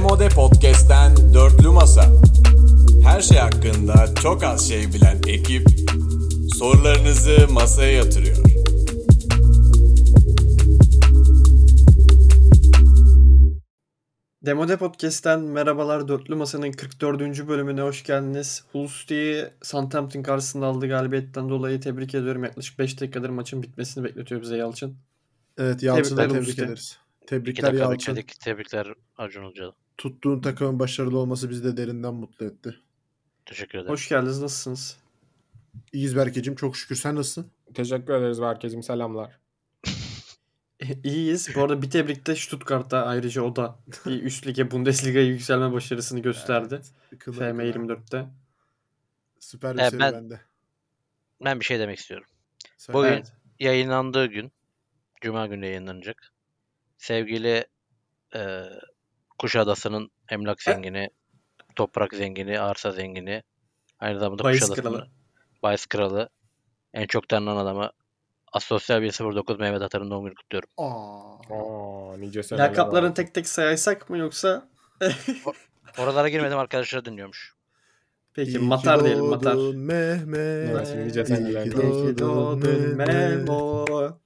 Komode Podcast'ten Dörtlü Masa. Her şey hakkında çok az şey bilen ekip sorularınızı masaya yatırıyor. Demode Podcast'ten merhabalar. Dörtlü Masa'nın 44. bölümüne hoş geldiniz. Hulsti'yi Southampton karşısında aldığı galibiyetten dolayı tebrik ediyorum. Yaklaşık 5 dakikadır maçın bitmesini bekletiyor bize Yalçın. Evet Yalçın'a Tebrikler tebrik Hulusi. ederiz. İki Tebrikler dakika Yalçın. bekledik. Tebrikler Acun Hoca. Tuttuğun takımın başarılı olması bizi de derinden mutlu etti. Teşekkür ederim. Hoş geldiniz. Nasılsınız? İyiyiz Berke'cim çok şükür sen nasılsın? Teşekkür ederiz herkesim selamlar. İyiyiz. Bu arada bir tebrik de Stuttgart'ta ayrıca o da bir üst lige Bundesliga'ya yükselme başarısını gösterdi. Kıllar FM kılar. 24'te. Süper bir Evet, seri ben- bende. Ben bir şey demek istiyorum. Sen- Bugün Evet. yayınlandığı gün, Cuma günü yayınlanacak. Sevgili e, Kuşadası'nın emlak E- zengini, toprak zengini, arsa zengini, aynı zamanda Bayis Kuşadası'nın kralı. bahis kralı, en çok tanınan adamı, Asosyal 109 Mehmet Atar'ın doğum günü kutluyorum. Aa. Aa, nice seneler. Lakaplarını tek tek sayaysak mı yoksa? Oralara girmedim arkadaşları dinliyormuş. Peki İyi ki Matar diyelim doğdun Matar. Mehmet. Evet, nice seneler. İyi ki İyi ki doğdun doğdun Mehmet. Memo.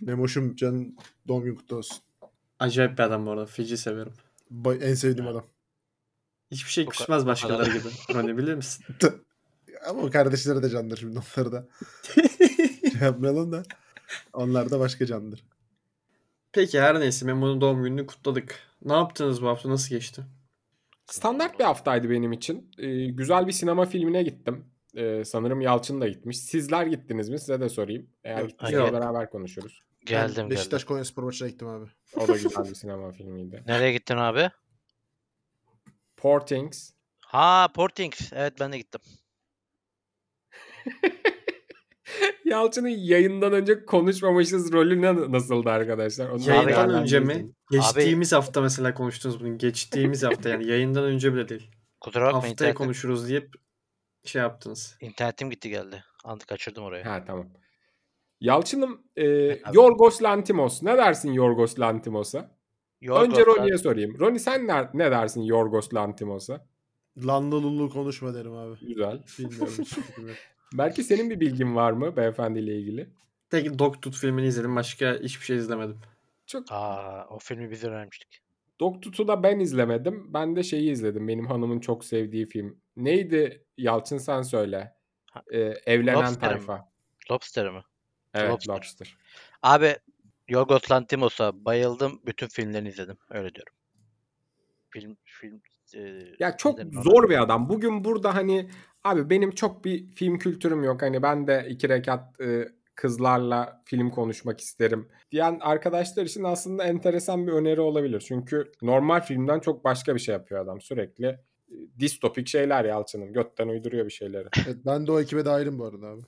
Memoşum canım doğum günü kutlu olsun. Acayip bir adam bu arada. Fiji severim. Bay- en sevdiğim adam. Hiçbir şey Bu ka- küsmez başkaları kadar. gibi. Rony bilir misin? Ama o kardeşleri de candır şimdi onları da. Şey yapmayalım da. Onlar da başka candır. Peki her neyse Memo'nun doğum gününü kutladık. Ne yaptınız bu hafta? Nasıl geçti? Standart bir haftaydı benim için. Ee, güzel bir sinema filmine gittim. Ee, sanırım Yalçın da gitmiş. Sizler gittiniz mi? Size de sorayım. Eğer Yok. gittiyseniz Yok. beraber konuşuruz. Geldim Ben Beşiktaş geldim. Konyaspor maçına gittim abi. O da güzel bir sinema filmiydi. Nereye gittin abi? Poor Things. Ha Portings. Evet ben de gittim. Yalçın'ın yayından önce konuşmamışız rolü na- nasıldı arkadaşlar? Onu Yayından beraber önce mi? izleyelim. Geçtiğimiz hafta mesela konuştunuz bunu. Geçtiğimiz hafta yani yayından önce bile değil. Kusura bakma Haftaya internetim- konuşuruz deyip şey yaptınız. internetim gitti geldi. Anı kaçırdım orayı. Ha tamam. Yalçın'ım e, abi. Yorgos Lantimos. Ne dersin Yorgos Lantimos'a? Yorgos önce Lan- Ronnie'ye sorayım. Ronnie sen ne, ne dersin Yorgos Lantimos'a? Lanlı lullu konuşma derim abi. Güzel. Bilmiyorum hiç fikrim yok. Belki senin bir bilgin var mı beyefendiyle ilgili? Tek Dogtooth filmini izledim. Başka hiçbir şey izlemedim. Çok Aa, o filmi biz önermiştik. Doktut'u da ben izlemedim. Ben de şeyi izledim. Benim hanımın çok sevdiği film. Neydi Yalçın sen söyle. Ee, evlenen Lobster mi? tayfa. Lobster mi? Evet Lobster. Lobster. Abi Yorgos Lanthimos'a bayıldım. Bütün filmlerini izledim. Öyle diyorum. Film film e, Ya çok izledim ama. zor bir adam. Bugün burada hani abi benim çok bir film kültürüm yok. Hani ben de iki rekat e, kızlarla film konuşmak isterim diyen arkadaşlar için aslında enteresan bir öneri olabilir. Çünkü normal filmden çok başka bir şey yapıyor adam. Sürekli e, distopik şeyler Yalçın'ın. Götten uyduruyor bir şeyleri. Evet, ben de o ekibe dahilim bu arada abi.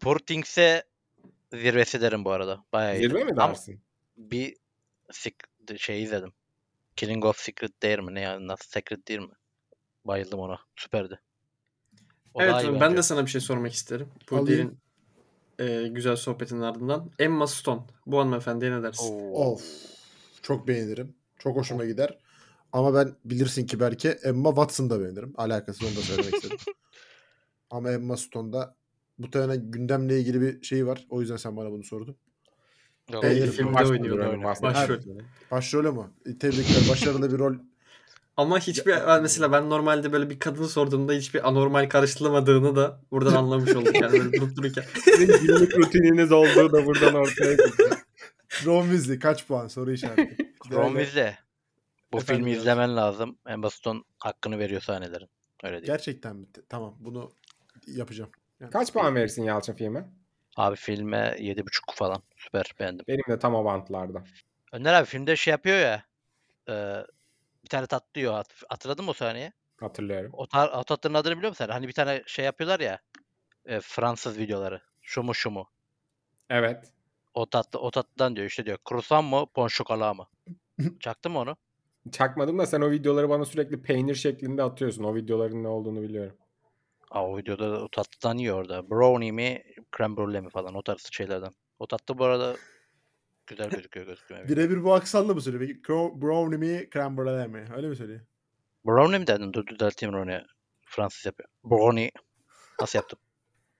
Poor Things'e zirvesi derim bu arada. Bayağı iyi. Zirve mi Ama dersin? bir sik- şey izledim. Killing of Secret Dare mi? Ne yani? Nasıl Secret değil mi? Bayıldım ona. Süperdi. O evet daha iyi Ron, ben bence. de sana bir şey sormak isterim. Bu Alayım. derin e, güzel sohbetin ardından. Emma Stone. Bu hanımefendiye ne dersin? Oo. Of. Çok beğenirim. Çok hoşuma gider. Ama ben bilirsin ki belki Emma Watson'ı da beğenirim. Alakası onu da söylemek istedim. Ama Emma Stone'da bu tane gündemle ilgili bir şey var. O yüzden sen bana bunu sordun. Yok, Ben de yok, filmde başrolde oynuyordu, oynuyor. oynuyor. Başrol. Başrolü mü? E, Tebrikler. Başarılı bir rol. Ama hiçbir mesela ben normalde böyle bir kadını sorduğumda hiçbir anormal karıştırılmadığını da buradan anlamış olduk yani böyle durup dururken. Sizin günlük rutininiz olduğu da buradan ortaya çıktı. Ron Weasley kaç puan? Soru işareti. Ron Weasley. Bu Efendim filmi yalnız. izlemen lazım. Emma Stone hakkını veriyor sahnelerin. Öyle değil. Gerçekten mi? Te- Tamam. Bunu yapacağım. Kaç puan verirsin Yalçın filme? Abi filme 7.5 falan. Süper beğendim. Benim de tam o bantlarda. Önder abi filmde şey yapıyor ya. e, bir tane tatlı yiyor. Hat- Hatırladın mı o sahneyi? Hatırlıyorum. O, tar- o tatlının adını biliyor musun? sen? Hani bir tane şey yapıyorlar ya. e, Fransız videoları. Şu mu şu mu? Evet. O tatlı o tatlıdan diyor işte diyor. Krusan mı? Pon şokola mı? Çaktın mı onu? Çakmadım da sen o videoları bana sürekli peynir şeklinde atıyorsun. O videoların ne olduğunu biliyorum. Aa, o videoda da o tatlıdan yiyor orada. Brownie mi? Creme brulee mi falan. O tarz şeylerden. O tatlı bu arada Güzel gözüküyor gözükmüyor. Birebir bu aksanla mı söylüyor? Peki Cro- brownie mi, cranberry mi? Öyle mi söylüyor? Brownie mi dedin? Dur düzelteyim Ronnie'ye. Fransız yapıyor. Brownie. Nasıl yaptım?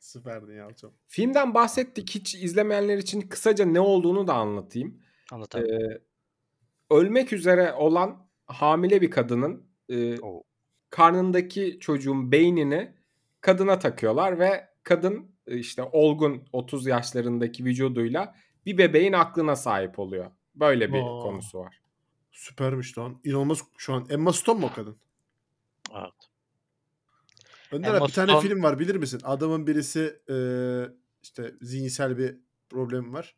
Süperdin Yalçın. Filmden bahsettik. Hiç izlemeyenler için kısaca ne olduğunu da anlatayım. Anlatamam. Ee, ölmek üzere olan hamile bir kadının e, Oo. karnındaki çocuğun beynini kadına takıyorlar ve kadın e, işte olgun 30 yaşlarındaki vücuduyla bir bebeğin aklına sahip oluyor. Böyle bir Oo. konusu var. Süpermiş lan. İnanılmaz şu an. Emma Stone mu o kadın? Evet. Önder Emma abi bir tane Stone- film var bilir misin? Adamın birisi e, işte zihinsel bir problemi var.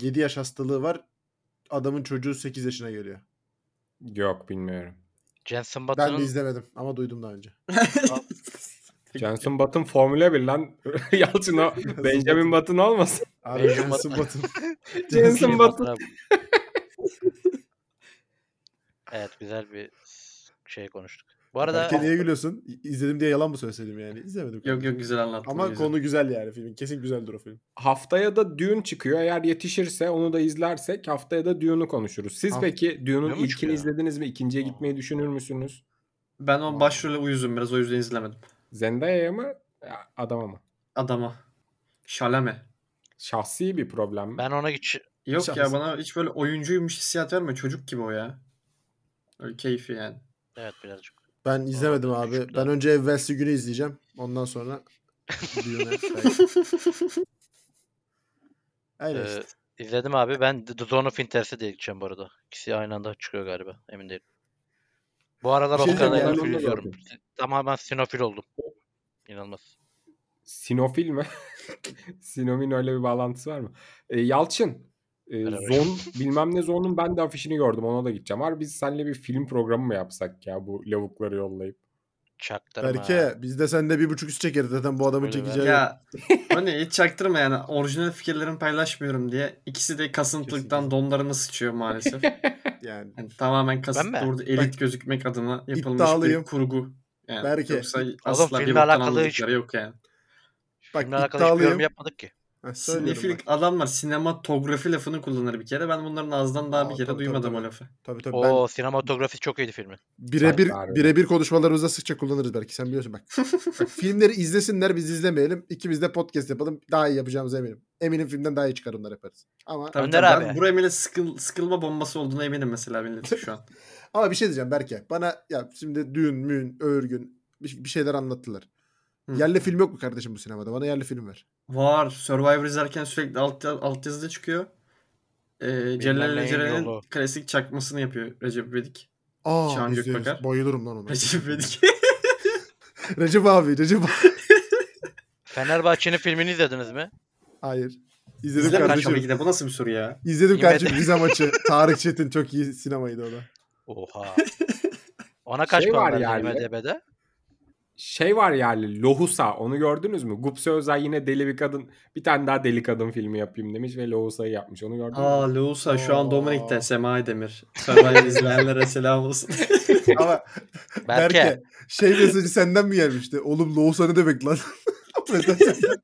7 yaş hastalığı var. Adamın çocuğu 8 yaşına geliyor. Yok bilmiyorum. Jensen Ben de Button'ın izlemedim ama duydum daha önce. Jensen Button Formula 1 lan. Yalçın o Benjamin Button olmasın. Abi Benjamin Jensen Button. Jensen Button. Button abi. evet güzel bir şey konuştuk. Bu arada Berke niye gülüyorsun? İ- İzledim diye yalan mı söyleseydim yani? İzlemedim. Yok yok güzel anlattın. Ama güzel. konu güzel yani filmin. Kesin güzeldir o film. Haftaya da Dune çıkıyor. Eğer yetişirse onu da izlersek haftaya da Dune'u konuşuruz. Siz Haft- peki Dune'un Dune mu ilkini çıkıyor? izlediniz mi? İkinciye gitmeyi düşünür müsünüz? Ben o başrolü uyuzum biraz o yüzden izlemedim. Zendaya'ya mı? Ya, Adama mı? Adama. Şalame. Şahsi bir problem mi? ben ona geç Yok ya Şahsen. bana hiç böyle oyuncuymuş hissiyat vermiyor. Çocuk gibi o ya. Öyle keyfi yani. evet birazcık. Ben izlemedim Aa, abi. teşekkürler. Ben önce evvelsi günü izleyeceğim. Ondan sonra düğüne. Öyle Ee, işte. izledim abi. Ben The Zone of Interest'e de gideceğim bu arada. İkisi aynı anda çıkıyor galiba. Emin değilim. Bu aralar Bir şey o kadar diyeceğim, full ben onu da izliyorum. Tamamen sinofil oldum. İnanılmaz. Sinofil mi? Sinomin öyle bir bağlantısı var mı? E, Yalçın. e, Merhaba. zon bilmem ne zonun ben de afişini gördüm ona da gideceğim. Var biz seninle bir film programı mı yapsak ya bu lavukları yollayıp? Çaktırma. Berke biz de seninle bir buçuk üst çekeriz zaten bu adamın Öyle be. çekeceği. yok. ya hani hiç çaktırma yani orijinal fikirlerimi paylaşmıyorum diye. İkisi de kasıntılıktan donlarına sıçıyor maalesef. Yani Yani Hani tamamen kasıtlı Ben mi? orada elit gözükmek adına yapılmış iddialıyım. bir kurgu. Yani Berke. Yoksa asla bir filmle boktan alakalı hiç- anladıkları yok yani. bak Bak, arkadaş bir yorum iddialıyım. yapmadık ki. Ha, söylüyorum Sinefil bak. adamlar sinematografi lafını kullanır bir kere. Ben bunların ağzından daha Aa, bir kere tabii, tabii, duymadım tabii. o lafı. Tabii tabii ben Oo sinematografi çok iyiydi filmin. birebir Harbi. birebir konuşmalarımızda sıkça kullanırız belki sen biliyorsun bak. Bak, filmleri izlesinler biz izlemeyelim. İkimiz de podcast yapalım. Daha iyi yapacağımıza eminim. Eminim filmden daha iyi çıkarımlar yaparız. Ama Tabii, Önder tabii. Ben abi. buraya bile sıkıl, sıkılma bombası olduğuna eminim mesela millet şu an. ama bir şey diyeceğim Berke. Bana ya şimdi düğün, müğün, örgün bir, bir şeyler anlattılar. Hı. Yerli film yok mu kardeşim bu sinemada? Bana yerli film ver. Var. Survivor izlerken sürekli alt, alt yazıda çıkıyor. Ee, Celal ile neyin Celal'in yolu. klasik çakmasını yapıyor Recep İvedik. Aa Şahan izleriz. Gökbakar. Bayılırım lan ona. Recep İvedik. Recep abi, Recep abi. Fenerbahçe'nin filmini izlediniz mi? Hayır. İzledim İzlemedim kardeşim. tabii ki de. Bu nasıl bir soru ya? İzledim Yemedim. kardeşim Rize maçı. Tarık Çetin çok iyi sinemaydı o da. Oha. Ona kaç Şey puan var verdin yani. IMDb'de? Şey var yani Lohusa onu gördünüz mü? Gupse Özay yine deli bir kadın bir tane daha deli kadın filmi yapayım demiş ve Lohusa'yı yapmış onu gördünüz mü? Aa Leusa şu Aa. an Dominik'te Semai Demir. Survivor izleyenlere selam olsun. Ama Berke. Berke. şey mesajı senden mi gelmişti? Oğlum Loğusa ne demek lan? Mesaj senden.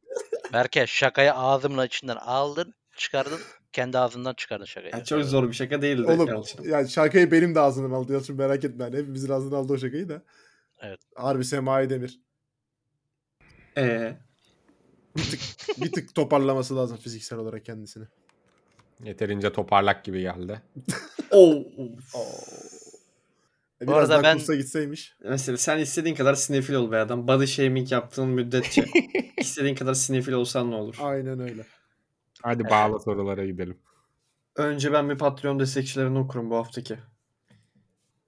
Berke şakayı ağzımla içinden aldın çıkardın. Kendi ağzından çıkardın şakayı. Yani çok zor bir şaka değildi. Oğlum Yalçın. yani şakayı benim de ağzından aldı Yalçın merak etme. Yani hepimizin ağzından aldı o şakayı da. Evet. Harbi Semai Demir. e- Ee, Bir tık toparlaması lazım fiziksel olarak kendisini. Yeterince toparlak gibi geldi. oh, E, Bu Biraz arada daha ben- kursa gitseymiş. Mesela sen istediğin kadar sinefil ol be adam. Body shaming yaptığın müddetçe istediğin kadar sinefil olsan ne olur? Aynen öyle. Hadi bağla sorulara gidelim. Önce ben bir Patreon destekçilerini okurum bu haftaki.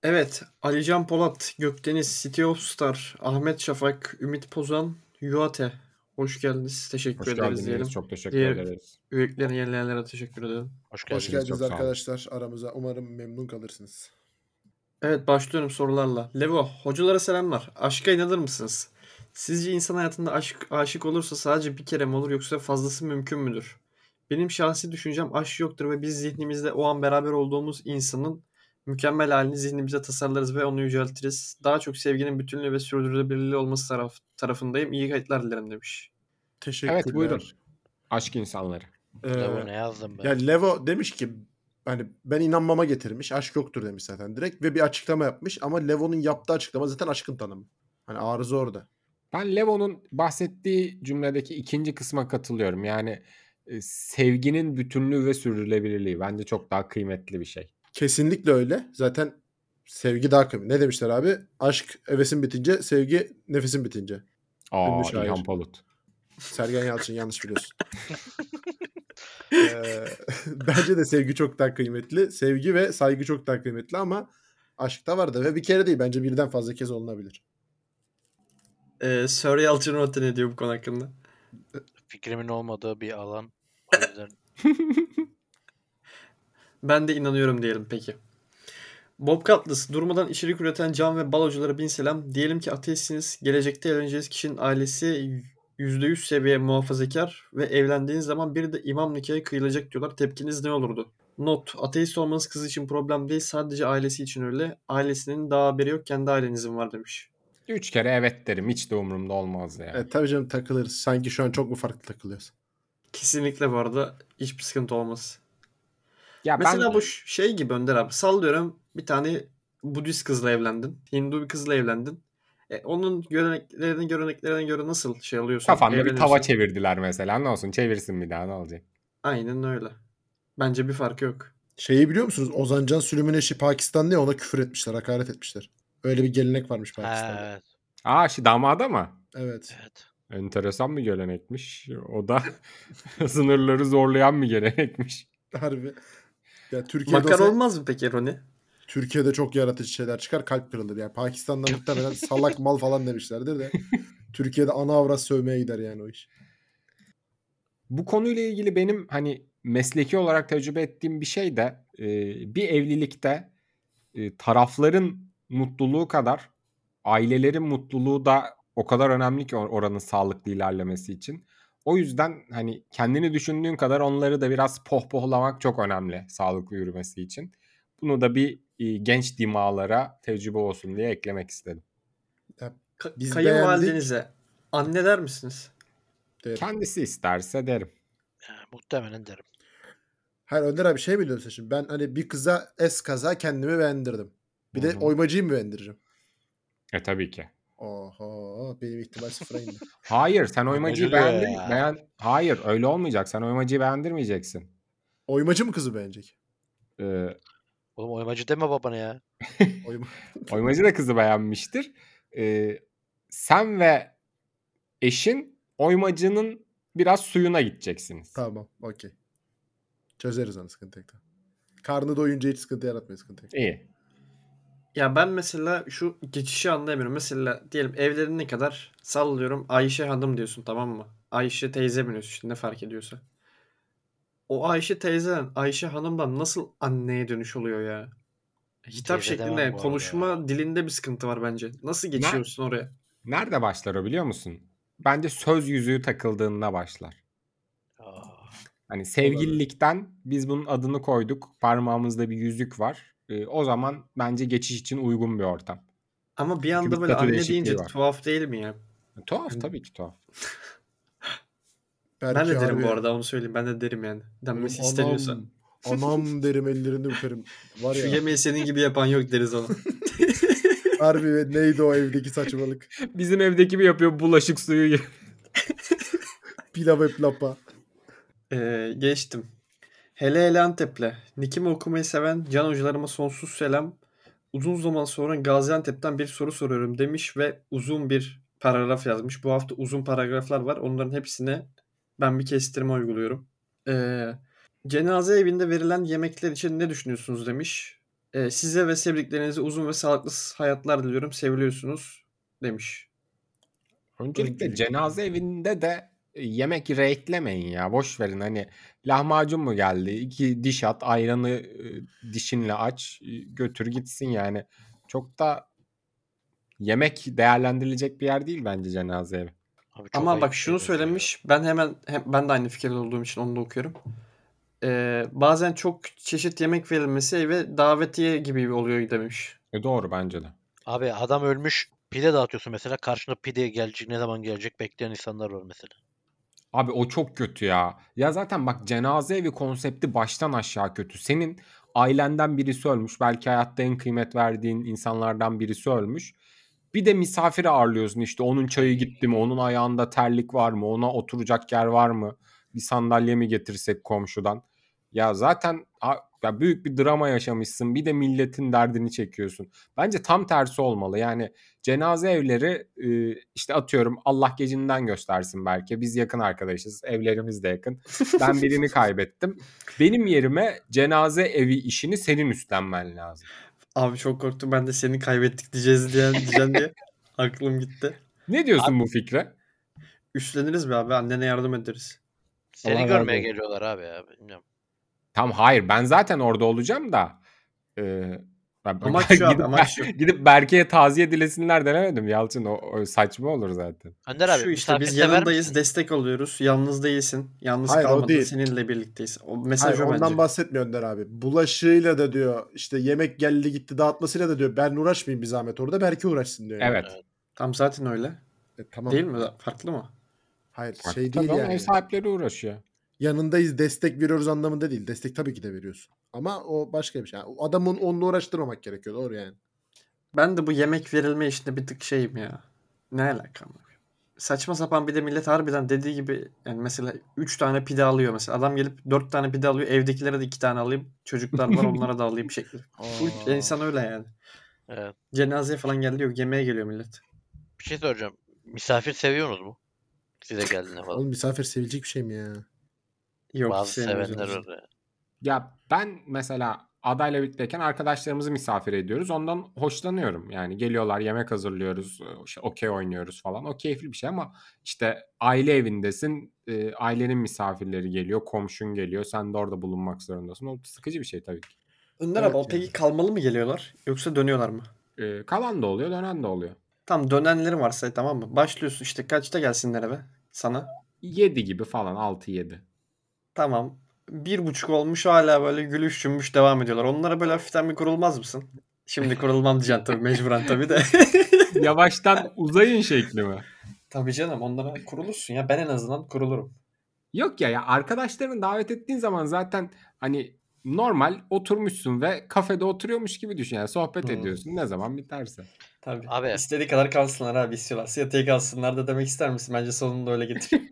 Evet, Alican Polat, Gökdeniz, City of Star, Ahmet Şafak, Ümit Pozan, Yuate. Hoş geldiniz. Teşekkür Hoş ederiz diyelim. geldiniz. Çok teşekkür Diğer- ederiz. Üyeliklerini yenileyenlere teşekkür ederim. Hoş geldin. Hoş Geldiniz, çok geldiniz sağ olun. arkadaşlar aramıza. Umarım memnun kalırsınız. Evet başlıyorum sorularla. Levo, hocalara selamlar. Aşka inanır mısınız? Sizce insan hayatında aşk, aşık olursa sadece bir kere mi olur yoksa fazlası mümkün müdür? Benim şahsi düşüncem aşk yoktur ve biz zihnimizde o an beraber olduğumuz insanın mükemmel halini zihnimize tasarlarız ve onu yüceltiriz. Daha çok sevginin bütünlüğü ve sürdürülebilirliği olması taraf, tarafındayım. İyi kayıtlar dilerim demiş. Teşekkürler. buyurun. Aşk insanları. Ee, Levo ne yazdım ben? ya Levo demiş ki hani ben inanmama getirmiş. Aşk yoktur demiş zaten direkt ve bir açıklama yapmış ama Levo'nun yaptığı açıklama zaten aşkın tanımı. Hani arıza orada. Ben Levo'nun bahsettiği cümledeki ikinci kısma katılıyorum. Yani e, sevginin bütünlüğü ve sürdürülebilirliği bence çok daha kıymetli bir şey. Kesinlikle öyle. Zaten sevgi daha kıymetli. Ne demişler abi? Aşk hevesin bitince, sevgi nefesin bitince. Aa Ünlü şair. İlhan Palut. Sergen Yalçın yanlış biliyorsun. Ee, bence de sevgi çok daha kıymetli. Sevgi ve saygı çok daha kıymetli ama aşkta vardı ve bir kere değil bence birden fazla kez olunabilir. Ee, Sir Yalçın Rotten ne diyor bu konu hakkında? Fikrimin olmadığı bir alan. O yüzden Ben de inanıyorum diyelim peki. Bob Cutlass durmadan içerik üreten can ve baloculara bin selam. Diyelim ki ateistsiniz. Gelecekte evleneceğiniz kişinin ailesi %100 seviye muhafazakar ve evlendiğiniz zaman bir de imam nikahı kıyılacak diyorlar. Tepkiniz ne olurdu? Not. Ateist olmanız kız için problem değil. Sadece ailesi için öyle. Ailesinin daha haberi yok. Kendi ailenizin var demiş. Üç kere evet derim. Hiç de umurumda olmaz yani. Evet tabii canım takılırız. Sanki şu an çok mu farklı takılıyoruz? Kesinlikle bu arada hiçbir sıkıntı olmaz. Ya Mesela ben bu ş- şey gibi Önder abi. Sallıyorum bir tane Budist kızla evlendin. Hindu bir kızla evlendin. E, onun göreneklerine, göreneklerine göre nasıl şey alıyorsun? kafamda bir evleniyorsun? tava çevirdiler mesela. Ne olsun çevirsin bir daha ne olacak? Aynen öyle. Bence bir farkı yok. Şeyi biliyor musunuz? Ozancan Süleyman eşi Pakistanlı ya ona küfür etmişler, hakaret etmişler. Öyle bir gelenek varmış Pakistan'da. evet. Aa şu damada mı? Evet. evet. Enteresan bir gelenekmiş. O da sınırları zorlayan bir gelenekmiş. Harbi. Ya Türkiye'de Makar olsa- olmaz mı peki Roni? Türkiye'de çok yaratıcı şeyler çıkar kalp kırılır. Yani Pakistan'da muhtemelen salak mal falan demişlerdir de. Türkiye'de ana avrat sövmeye gider yani o iş. Bu konuyla ilgili benim hani mesleki olarak tecrübe ettiğim bir şey de e, bir evlilikte e, tarafların mutluluğu kadar ailelerin mutluluğu da o kadar önemli ki or- oranın sağlıklı ilerlemesi için. O yüzden hani kendini düşündüğün kadar onları da biraz pohpohlamak çok önemli sağlıklı yürümesi için. Bunu da bir e, genç dimağlara tecrübe olsun diye eklemek istedim. Ka- Biz kayınvalidenize anne der misiniz? Derim. Kendisi isterse derim. Yani muhtemelen derim. Hayır Önder abi şey mi diyorsun sen şimdi? Ben hani bir kıza es kaza kendimi beğendirdim. Bir Hı de hı. oymacıyı mı beğendireceğim? E tabii ki. Oho benim ihtimal sıfıra indi. Hayır sen oymacıyı Bozuluyor beğendin. ya. Beğen... Hayır öyle olmayacak. Sen oymacıyı beğendirmeyeceksin. Oymacı mı kızı beğenecek? Ee, Oğlum oymacı deme babana ya. Oyma... oymacı da kızı beğenmiştir. Ee, sen ve eşin oymacının biraz suyuna gideceksiniz. tamam okey. Çözeriz onu sıkıntı yok. Karnı doyunca hiç sıkıntı yaratmıyor sıkıntı yok. İyi. Ya ben mesela şu geçişi anlayamıyorum. Mesela diyelim evlerine kadar sallıyorum Ayşe Hanım diyorsun tamam mı? Ayşe teyze mi diyorsun işte ne fark ediyorsa. O Ayşe teyzeden Ayşe Hanım'dan nasıl anneye dönüş oluyor ya? Hitap Teyze şeklinde demem bu arada konuşma ya. dilinde bir sıkıntı var bence. Nasıl geçiyorsun oraya? Nerede başlar o biliyor musun? Bence söz yüzüğü takıldığında başlar. Aa, Hani sevgililikten biz bunun adını koyduk. Parmağımızda bir yüzük var. Ee, o zaman bence geçiş için uygun bir ortam. Ama bir bir anda böyle statü anne değişikliği deyince var. tuhaf değil mi ya? Tuhaf tabii ki tuhaf. Belki Ben de derim harbi- bu arada onu söyleyeyim. Ben de derim yani. Denmesi Anam- isteniyorsa. Anam derim ellerini öperim. Var Şu ya. yemeği senin gibi yapan yok deriz ona. Harbi ve neydi o evdeki saçmalık? Bizim evdeki bir yapıyor bulaşık suyu gibi. Pilav hep lapa. Ee, geçtim. Hele hele Antep'le. Nikimi okumayı seven can hocalarıma sonsuz selam. Uzun zaman sonra Gaziantep'ten bir soru soruyorum demiş ve uzun bir paragraf yazmış. Bu hafta uzun paragraflar var. Onların hepsine ben bir kestirme uyguluyorum. Ee, cenaze evinde verilen yemekler için ne düşünüyorsunuz demiş. Ee, size ve sevdiklerinize uzun ve sağlıklı hayatlar diliyorum. Seviliyorsunuz demiş. Öncelikle Öncelikle. cenaze evinde de e, yemek renklemeyin ya. Boş verin hani lahmacun mu geldi? İki diş at ayranı e, dişinle aç e, götür gitsin yani. Çok da yemek değerlendirilecek bir yer değil bence cenaze evi. abi çok Ama ayıp bak bir şunu şey ya. söylemiş. Ben hemen hem, ben de aynı fikirde olduğum için onu da okuyorum. Ee, bazen çok çeşit yemek verilmesi ve davetiye gibi oluyor demiş. E doğru bence de. Abi adam ölmüş pide dağıtıyorsun mesela karşına pide gelecek ne zaman gelecek bekleyen insanlar var mesela. Abi o çok kötü ya. Ya zaten bak cenaze evi konsepti baştan aşağı kötü. Senin ailenden birisi ölmüş. Belki hayatta en kıymet verdiğin insanlardan birisi ölmüş. Bir de misafir ağırlıyorsun işte. Onun çayı gitti mi? Onun ayağında terlik var mı? Ona oturacak yer var mı? Bir sandalye mi getirsek komşudan? Ya zaten a- ya büyük bir drama yaşamışsın. Bir de milletin derdini çekiyorsun. Bence tam tersi olmalı. Yani cenaze evleri e, işte atıyorum Allah gecinden göstersin belki. Biz yakın arkadaşız. Evlerimiz de yakın. Ben birini kaybettim. Benim yerime cenaze evi işini senin üstlenmen lazım. Abi çok korktum ben de seni kaybettik diyeceğiz diye diyeceğim diye aklım gitti. Ne diyorsun bu fikre? Üstleniriz be abi annene yardım ederiz. Seni Allah görmeye razı olsun. geliyorlar abi ya. Bilmiyorum. Tam hayır ben zaten orada olacağım da. E, ben- Amaç şu abi gidip, amaç şu. gidip Berke'ye taziye dilesinler denemedim Yalçın. O, o saçma olur zaten. Önder abi Şu işte biz misafirsever yanındayız misin? destek oluyoruz. Yalnız değilsin. Yalnız Hayır, o kalmadın. değil. Seninle birlikteyiz. O mesaj Hayır, o ondan bence. bahsetmiyor Önder abi. Bulaşığıyla da diyor işte yemek geldi gitti dağıtmasıyla da diyor ben uğraşmayayım bir zahmet orada belki uğraşsın diyor. yani. Evet. Tam zaten öyle. E, tamam. Değil mi? Farklı mı? Hayır Bak, şey tabii değil oğlum, yani. Ev sahipleri uğraşıyor. Yanındayız destek veriyoruz anlamında değil. Destek tabii ki de veriyorsun. Ama o başka bir şey. Yani o adamın onunla uğraştırmamak gerekiyor. Doğru yani. Ben de bu yemek verilme işinde bir tık şeyim ya. Ne alakam var? Saçma sapan bir de millet harbiden dediği gibi yani mesela 3 tane pide alıyor mesela. Adam gelip 4 tane pide alıyor. Evdekilere de 2 tane alayım. Çocuklar var onlara da alayım şekli. Full Aa. insan öyle yani. Evet. Cenazeye falan geldi yok. Yemeğe geliyor millet. Bir şey soracağım. Misafir seviyorsunuz mu? Size geldiğinde falan. Oğlum misafir sevilecek bir şey mi ya? Yok Bazı sevmiyoruz. sevenler var. ya. Ya ben mesela adayla birlikteyken arkadaşlarımızı misafir ediyoruz. Ondan hoşlanıyorum. Yani geliyorlar yemek hazırlıyoruz. işte Okey oynuyoruz falan. O keyifli bir şey ama işte aile evindesin. e, Ailenin misafirleri geliyor. Komşun geliyor. Sen de orada bulunmak zorundasın. O sıkıcı bir şey tabii ki. Önder Evet abi o yani. peki kalmalı mı geliyorlar yoksa dönüyorlar mı? E, Kalan da oluyor dönen de oluyor. Tam dönenleri varsa tamam mı? Başlıyorsun işte kaçta gelsinler eve sana? 7 gibi falan 6-7. Tamam. Bir buçuk olmuş hala böyle gülüş cümbüş devam ediyorlar. Onlara böyle hafiften bir kurulmaz mısın? Şimdi kurulmam diyeceksin tabii mecburen tabii de. Yavaştan uzayın şekli mi? tabii canım onlara kurulursun ya. Ben en azından kurulurum. Yok ya ya arkadaşlarını davet ettiğin zaman zaten hani normal oturmuşsun ve kafede oturuyormuş gibi düşün yani sohbet Hı. ediyorsun ne zaman biterse. Tabii. Abi. İstediği kadar kalsınlar abi istiyorlarsa yatıya kalsınlar da demek ister misin? Bence sonunda öyle getir.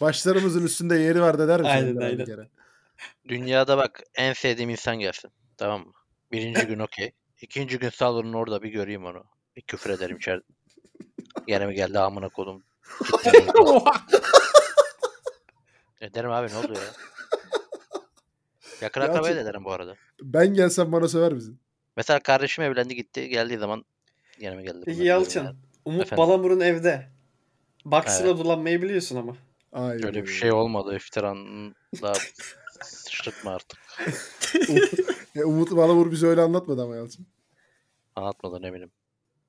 Başlarımızın üstünde yeri var da der misin? Aynen, Önder abi bir aynen. kere? Dünyada bak en sevdiğim insan gelsin. Tamam mı? Birinci gün okey. İkinci gün salonun orada bir göreyim onu. Bir küfür ederim içeride. Gene mi geldi amına kodum. Oha! Ederim E, abi ne oldu ya? Yakın Ya akrabaya da çok- ederim bu arada. Ben gelsem bana söver misin? Mesela kardeşim evlendi gitti. Geldiği zaman gene mi geldi. Peki bunlar, gene mi Yalçın. geldi? Umut Efendim? Balamur'un evde. Baksıyla Evet. dolanmayı biliyorsun ama. Hayır. Öyle bir şey olmadı. İftiranın daha sıçratma artık. E, Umut Balamur bize öyle anlatmadı ama Yalçın. Anlatmadan eminim.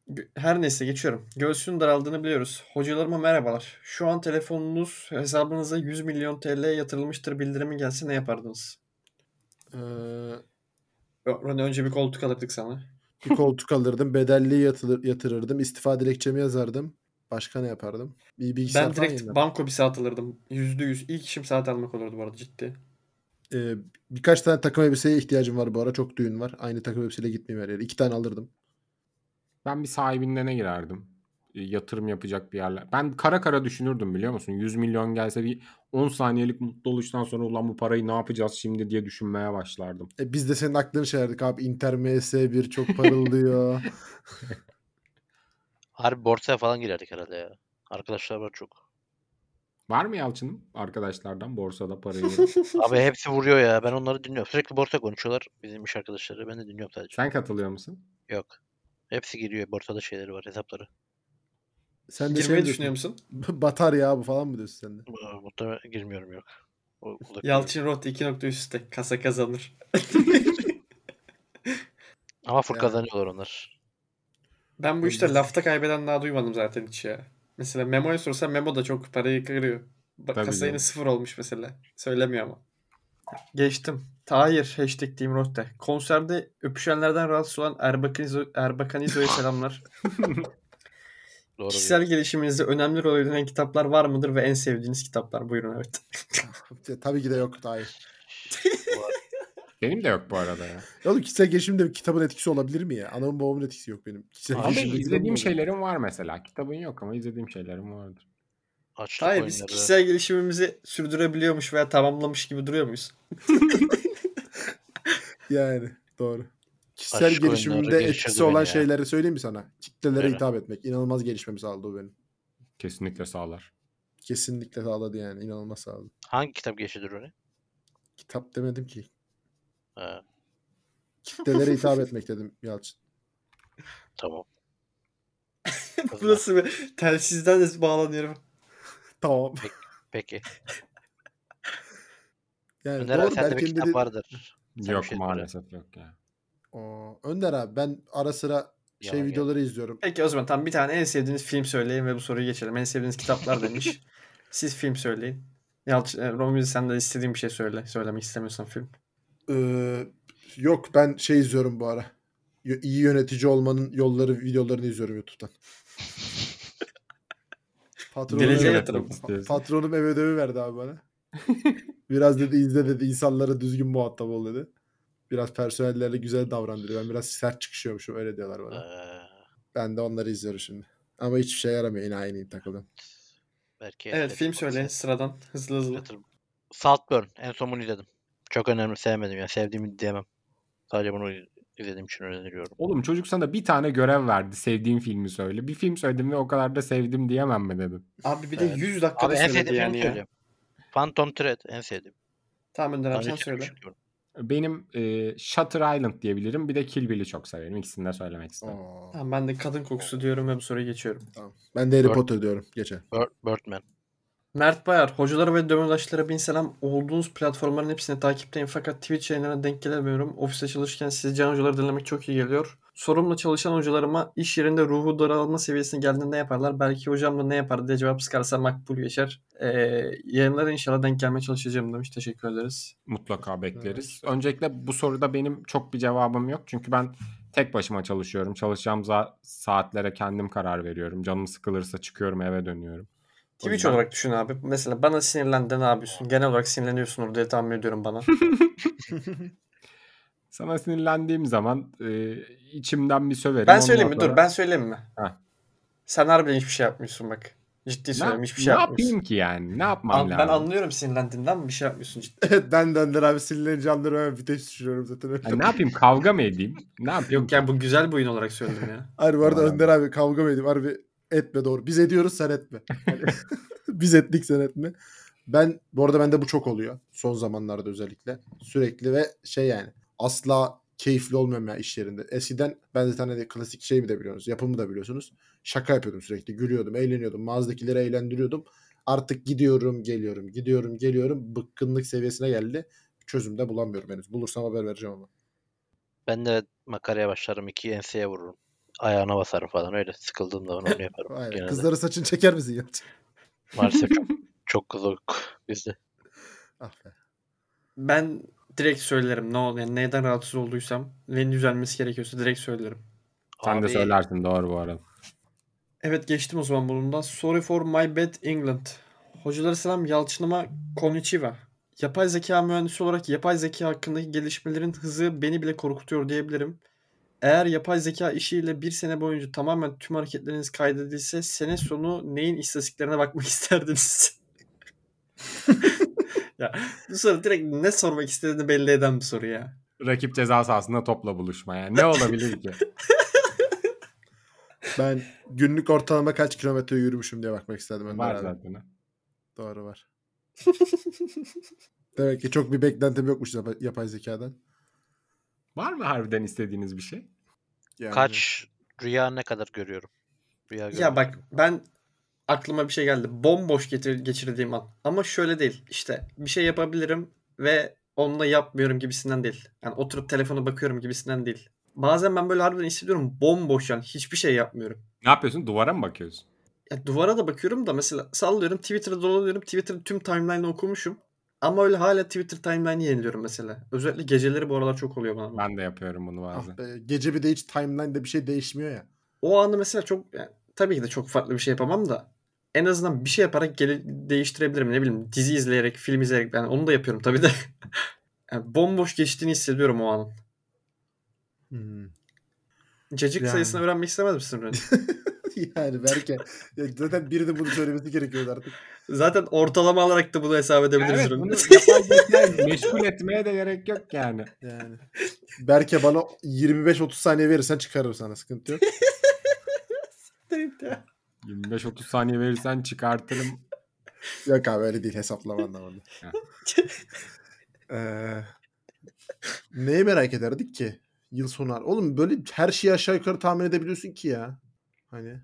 Gö- Her neyse geçiyorum. Göğsünün daraldığını biliyoruz. Hocalarıma merhabalar. Şu an telefonunuz hesabınıza 100 milyon TL yatırılmıştır bildirimi gelse ne yapardınız? Ee, Yok, Rony önce bir koltuk alırdık sana. bir koltuk alırdım. Bedelli yatılır, yatırırdım. İstifa dilekçemi yazardım. Başka ne yapardım? Bir bilgisayar ben falan direkt yenilerdim. banko bir saat alırdım. Yüzde yüz. İlk işim saat almak olurdu bu arada ciddi. Ee, birkaç tane takım elbiseye ihtiyacım var bu ara. Çok düğün var. Aynı takım elbiseyle gitmeyeyim her yere. İki tane alırdım. Ben bir sahibinlerine girerdim. E, Yatırım yapacak bir yerler. Ben kara kara düşünürdüm biliyor musun? 100 milyon gelse bir 10 saniyelik mutlu oluştan sonra ulan bu parayı ne yapacağız şimdi diye düşünmeye başlardım. E, biz de senin aklını çevirdik abi. Inter MS1 çok parıldıyor. Harbi borsaya falan girerdik herhalde ya. Arkadaşlar var çok. Var mı Yalçın'ın arkadaşlardan borsada parayı? Abi hepsi vuruyor ya. Ben onları dinliyorum. Sürekli borsa konuşuyorlar. Bizim iş arkadaşları. Ben de dinliyorum sadece. Sen katılıyor musun? Yok. Hepsi giriyor. Borsada şeyleri var. Hesapları. Sen de şey Girmeyi mi düşünüyor diyorsun? musun? Batar ya bu falan mı diyorsun sen de? Aa, Muhtemelen girmiyorum yok. O, o da- Yalçın Roth 2.3 üstte. Kasa kazanır. Ama full Ya. kazanıyorlar onlar. Ben bu işte lafta kaybeden daha duymadım zaten hiç ya. Mesela Memo'ya sorsan Memo da çok parayı kırıyor. Bak Tabii kasa yine canım. sıfır olmuş mesela. Söylemiyor ama. Geçtim. Tahir hashtag diyeyim Rotte. Konserde öpüşenlerden rahatsız olan Erbakan İzo- Erbakan İzo'ya selamlar. Doğru Kişisel diyorsun. gelişiminizde önemli rol oynayan kitaplar var mıdır ve en sevdiğiniz kitaplar? Buyurun evet. Tabii ki de yok. Hayır. Benim de yok bu arada ya. Ya Oğlum kişisel gelişimde kitabın etkisi olabilir mi ya? Anamın babamın etkisi yok benim. Kişisel Ama gelişimde kitabın izlediğim şeylerim var mesela. Kitabın yok ama izlediğim şeylerim vardır. Açlık Hayır biz oyunları. kişisel gelişimimizi sürdürebiliyormuş veya tamamlamış gibi duruyor muyuz? olabilir. Yani doğru. Kişisel Aşk gelişimimde oyunları etkisi geliştirdi olan beni ya. şeyleri söyleyeyim mi sana? Kitlelere Söyle. hitap etmek. İnanılmaz gelişmemi sağladı o benim. Kesinlikle sağlar. Kesinlikle sağladı yani. İnanılmaz sağladı. Hangi kitap geçidir onu? Kitap demedim ki. Ha, Kitlelere hitap etmek dedim Yalçın. tamam. Bu nasıl bir telsizden de bağlanıyorum. Tamam. Peki. Yani Önder doğru. abi sende bir Berke'nin kitap dediği- vardır. Sen yok bir şey söyle. maalesef yok ya. Oo, Önder abi ben ara sıra şey Yalan videoları izliyorum. Peki o zaman tam bir tane en sevdiğiniz film söyleyin ve bu soruyu geçelim. En sevdiğiniz kitaplar demiş. Siz film söyleyin. Yalçın, e, Romil sen de istediğin bir şey söyle. Söylemek istemiyorsan film. Ee, yok ben şey izliyorum bu ara. Y- İyi yönetici olmanın yolları videolarını izliyorum YouTube'dan. Patronum, Geleceğe eve- yatırım. pa- patronum ev ödevi verdi abi bana. biraz dedi izle dedi insanlara düzgün muhatap ol dedi. Biraz personellerle güzel davran dedi. Ben biraz sert çıkışıyormuşum öyle diyorlar bana. Ee, Ben de onları izliyorum şimdi. Ama hiçbir şey yaramıyor. Yine aynı takıldım. belki Evet, film söyle sıradan hızlı hızlı. Hatırlam- Saltburn. En son bunu izledim. Çok önemli sevmedim ya. Sevdiğimi diyemem. Sadece bunu izlediğim için öneriyorum. Oğlum çocuk sana bir tane görev verdi. Sevdiğin filmi söyle. Bir film söyledim ve o kadar da sevdim diyemem mi dedim. Abi bir de Evet. 100 Abi dakikada en söyledi sevdiğim yani filmi ya. söyleyeyim. Phantom Thread en sevdiğim. Tamam Önder abi Daha sen önce söyle. çıkmış diyorum. Benim e, Shutter Island diyebilirim. Bir de Kill Bill'i çok severim. İkisini de söylemek isterim. Oo, Tamam ben de kadın kokusu diyorum ve bu soruya geçiyorum. tamam. Ben de Harry Dört. Potter diyorum. Geçer. Bir- Birdman. Mert Bayar, hocalara ve dömürdaşlara bin selam. Olduğunuz platformların hepsini takipteyim fakat Twitch yayınlarına denk gelemiyorum. Ofiste çalışırken sizi can hocaları dinlemek çok iyi geliyor. Sorumla çalışan hocalarıma iş yerinde ruhu daralma seviyesine geldiğinde ne yaparlar? Belki hocam da ne yapar diye cevap sıkarsa makbul geçer. Ee, yayınlara inşallah denk gelmeye çalışacağım demiş. Teşekkür ederiz. Mutlaka bekleriz. Öncelikle bu soruda benim çok bir cevabım yok. Çünkü ben tek başıma çalışıyorum. Çalışacağım za- saatlere kendim karar veriyorum. Canım sıkılırsa çıkıyorum eve dönüyorum. O Twitch yüzden- olarak düşün abi. Mesela bana sinirlendin abisin. Genel olarak sinirleniyorsun diye tahmin ediyorum bana. Sana sinirlendiğim zaman e, içimden bir söverim. ben Ondan söyleyeyim mi? sonra- Dur ben söyleyeyim mi? Heh. Sen harbiden hiçbir şey yapmıyorsun bak. Ciddi Ne, söylüyorum hiçbir şey ne yapmıyorsun. yapayım ki yani? Ne yapmam An- ben lazım? anlıyorum sinirlendiğinden ama bir şey yapmıyorsun cidden. Evet ben de Önder abi sinirlenince anlarım hemen vites düşürüyorum zaten. Öyle. Yani Hani ne yapayım? Kavga mı edeyim? Ne yapayım? Yok yani bu güzel bir oyun olarak söyledim ya. Harbi bu arada Tamam abi. Önder abi kavga mı edeyim? Harbi etme doğru. Biz ediyoruz sen etme. Hani biz ettik sen etme. Ben bu arada bende bu çok oluyor. Son zamanlarda özellikle. Sürekli ve şey yani asla keyifli olmuyorum ya iş yerinde. Eskiden ben zaten hani klasik şey mi de biliyorsunuz. Yapımı da biliyorsunuz. Şaka yapıyordum sürekli. Gülüyordum, eğleniyordum. Mağazadakileri eğlendiriyordum. Artık gidiyorum, geliyorum, gidiyorum, geliyorum. Bıkkınlık seviyesine geldi. Çözüm de bulamıyorum henüz. Bulursam haber vereceğim ama. Ben de makaraya başlarım. iki enseye vururum. Ayağına basarım falan öyle. Sıkıldığım zaman onu yaparım. Aynen. Genelde. Kızların saçını çeker misin ya? Maalesef çok, çok kız yok bizde. Ah be. Ben direkt söylerim ne ol yani neyden rahatsız olduysam ve düzelmesi gerekiyorsa direkt söylerim. Sen de Abi, söylersin doğru bu arada. Evet geçtim o zaman bundan. Sorry for my bad England. Hocalara selam Yalçın'ıma konnichiwa. Yapay zeka mühendisi olarak yapay zeka hakkındaki gelişmelerin hızı beni bile korkutuyor diyebilirim. Eğer yapay zeka işiyle bir sene boyunca tamamen tüm hareketleriniz kaydedilse sene sonu neyin istatistiklerine bakmak isterdiniz? ya, bu soru direkt ne sormak istediğini belli eden bir soru ya. Rakip ceza sahasında topla buluşma yani. Ne olabilir ki? Ben günlük ortalama kaç kilometre yürümüşüm diye bakmak istedim. Önder Var abi. zaten. ha. Doğru var. Demek ki çok bir beklentim yokmuş yapa- yapay zekadan. Var mı harbiden istediğiniz bir şey? Yani Kaç rüya ne kadar görüyorum? Rüya Ya görüyorum. bak ben aklıma bir şey geldi. Bomboş getir, geçirdiğim an. Ama şöyle değil. İşte bir şey yapabilirim ve onunla yapmıyorum gibisinden değil. Yani oturup telefona bakıyorum gibisinden değil. Bazen ben böyle harbiden hissediyorum bomboş yani hiçbir şey yapmıyorum. Ne yapıyorsun? Duvara mı bakıyorsun? Ya duvara da bakıyorum da mesela sallıyorum Twitter'da dolanıyorum. Twitter'ın tüm timeline'ı okumuşum. Ama öyle hala Twitter timeline'ı yeniliyorum mesela. Özellikle geceleri bu aralar çok oluyor bana. Ben de yapıyorum bunu Ah bazen. be, gece bir de hiç timeline'de bir şey değişmiyor ya. O anı mesela çok yani tabii ki de çok farklı bir şey yapamam da en azından bir şey yaparak gele- değiştirebilirim. Ne bileyim dizi izleyerek, film izleyerek. Yani onu da yapıyorum tabii de. Yani bomboş geçtiğini hissediyorum o anın. Hmm. Cacık Yani. sayısını öğrenmek istemez misin Reni? yani belki ya zaten birinin bunu söylemesi gerekiyordu artık. Zaten ortalama alarak da bunu hesap edebiliriz Evet Reni. bunu yapay zekayı meşgul etmeye de gerek yok yani. Yani. Berke bana 25-30 saniye verirsen çıkarırım sana sıkıntı yok. 25-30 saniye verirsen çıkartırım. yok abi öyle değil hesaplama anlamında. Ha. Ee, neyi merak ederdik ki? Yıl sonu. ar- Oğlum böyle her şeyi aşağı yukarı tahmin edebiliyorsun ki ya. Hani.